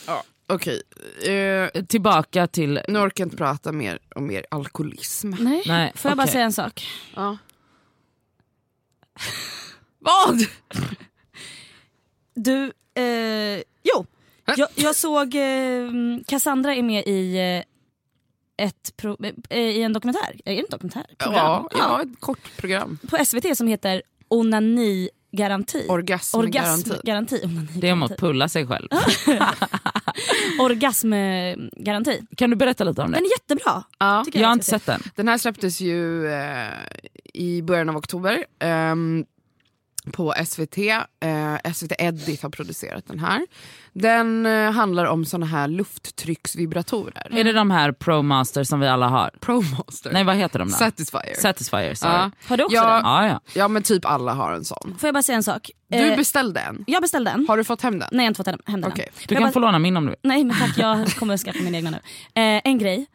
Speaker 4: Ja, Okej, eh,
Speaker 3: Eh, Tillbaka till...
Speaker 4: nu orkar jag inte prata mer om er alkoholism.
Speaker 2: Nej.
Speaker 3: Nej,
Speaker 2: Får jag bara
Speaker 3: okej.
Speaker 2: säga en sak?
Speaker 4: Ja. Vad?
Speaker 2: Du, eh, jo. Jag, jag såg eh, Cassandra är med i eh, ett pro, eh, i en dokumentär. Är det en dokumentär?
Speaker 4: Ja,
Speaker 2: Program?
Speaker 4: ja, ett kort program.
Speaker 2: På SVT som heter Onani-garanti.
Speaker 4: Orgasmgaranti.
Speaker 2: Orgasmgaranti. Onani-garanti.
Speaker 3: Det är om att pulla sig själv.
Speaker 2: Orgasmgaranti.
Speaker 3: Kan du berätta lite om det?
Speaker 2: Den är jättebra.
Speaker 4: Ja.
Speaker 2: tycker
Speaker 3: Jag har
Speaker 2: att
Speaker 3: inte
Speaker 2: SVT.
Speaker 3: sett den.
Speaker 4: Den här släpptes ju eh, i början av oktober. Ehm, på SVT. Eh, SVT Edit har producerat den här. Den eh, handlar om såna här lufttrycksvibratorer.
Speaker 2: Mm.
Speaker 3: Är det de här ProMaster som vi alla har?
Speaker 4: Promaster.
Speaker 3: Nej vad heter de? då?
Speaker 4: Satisfyer.
Speaker 3: Satisfyer sorry.
Speaker 4: ja.
Speaker 3: Ja.
Speaker 2: Har du också
Speaker 4: Ja.
Speaker 2: den?
Speaker 3: Ja,
Speaker 4: ja men typ alla har en sån.
Speaker 2: Får jag bara säga en sak?
Speaker 4: Du
Speaker 2: Eh,
Speaker 4: beställde en.
Speaker 2: jag beställde den.
Speaker 4: Har du fått hem den?
Speaker 2: Nej jag har inte fått hem den än.
Speaker 4: Okej.
Speaker 3: Du
Speaker 2: Jag
Speaker 3: kan
Speaker 2: bara-
Speaker 3: få låna min om du vill.
Speaker 2: Nej men tack, jag kommer att skaffa min egna nu. Eh, en grej.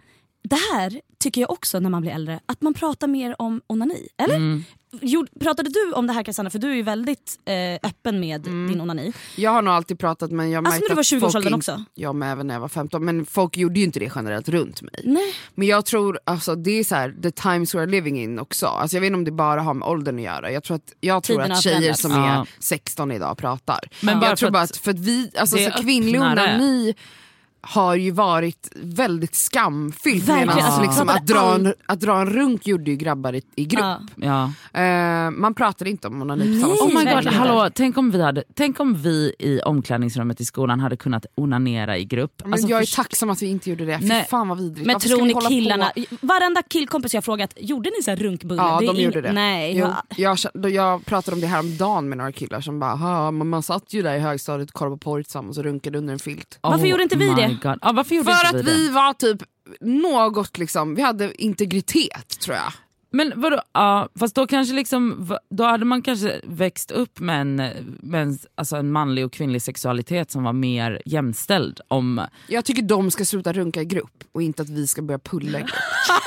Speaker 2: Det här tycker jag också när man blir äldre, att man pratar mer om onani. Eller?
Speaker 4: Mm.
Speaker 2: Jo, pratade du om det här Cassandra? För du är ju väldigt eh, öppen med
Speaker 4: Mm.
Speaker 2: din onani.
Speaker 4: Jag har nog alltid pratat men jag
Speaker 2: Alltså
Speaker 4: märkte
Speaker 2: när du var
Speaker 4: att
Speaker 2: 20-årsåldern
Speaker 4: folk in-
Speaker 2: också?
Speaker 4: Ja men även när jag var 15. Men folk gjorde ju inte det generellt runt mig.
Speaker 2: Nej.
Speaker 4: Men jag tror alltså det är så här the times we're living in också. Alltså jag vet inte om det bara har med åldern att göra. Jag tror att, jag tror
Speaker 2: Tiden
Speaker 4: att
Speaker 2: har
Speaker 4: tjejer
Speaker 2: förändrats.
Speaker 4: som
Speaker 3: Ja.
Speaker 4: är 16 idag pratar.
Speaker 3: Men
Speaker 4: Men
Speaker 3: bara
Speaker 4: jag tror
Speaker 3: för
Speaker 4: bara
Speaker 3: att
Speaker 4: att, för att vi, alltså
Speaker 3: det
Speaker 4: så
Speaker 3: är
Speaker 4: kvinnlig
Speaker 3: öppnare.
Speaker 4: onani har ju varit väldigt skamfyllt.
Speaker 2: Verkligen,
Speaker 4: Medans
Speaker 2: alltså, vi
Speaker 4: liksom,
Speaker 2: pratade
Speaker 4: att, dra
Speaker 2: all-
Speaker 4: en, att dra en runk gjorde ju grabbar i, i grupp.
Speaker 2: Ja.
Speaker 3: Ja.
Speaker 4: Eh, man pratade inte om onani på samma
Speaker 2: Nej,
Speaker 3: Oh my god,
Speaker 2: verkligen.
Speaker 3: hallå, tänk, om vi hade, tänk om vi i omklädningsrummet i skolan hade kunnat onanera i grupp.
Speaker 4: Men
Speaker 3: Alltså,
Speaker 4: jag är
Speaker 3: först-
Speaker 4: tacksam att vi inte gjorde det. Fy
Speaker 3: Nej.
Speaker 4: fan vad vidrigt.
Speaker 2: Men
Speaker 4: Varför
Speaker 2: tror
Speaker 4: ska vi
Speaker 2: ni
Speaker 4: hålla
Speaker 2: killarna,
Speaker 4: På?
Speaker 2: varenda killkompis jag frågat, gjorde ni så här runkbulle?
Speaker 4: Ja,
Speaker 2: Det är
Speaker 4: de
Speaker 2: ing-
Speaker 4: gjorde det.
Speaker 2: Nej.
Speaker 4: Jo,
Speaker 2: va?
Speaker 4: jag, kä- då jag pratade om det här om dagen med några killar som bara, "Ha, men man satt ju där i högstadiet och kollade på porr tillsammans och runkade under en filt.
Speaker 2: Varför gjorde inte vi
Speaker 3: my
Speaker 2: det?
Speaker 3: God. Ja, varför gjorde
Speaker 4: För
Speaker 3: inte
Speaker 4: att
Speaker 3: vi det?
Speaker 4: vi var typ något liksom, vi hade integritet tror jag.
Speaker 3: Men vadå, ja, fast då kanske liksom, va- då hade man kanske växt upp med en, med en, alltså en manlig och kvinnlig sexualitet som var mer jämställd. Om,
Speaker 4: Jag tycker de ska sluta runka i grupp och inte att vi ska börja pulla i grupp.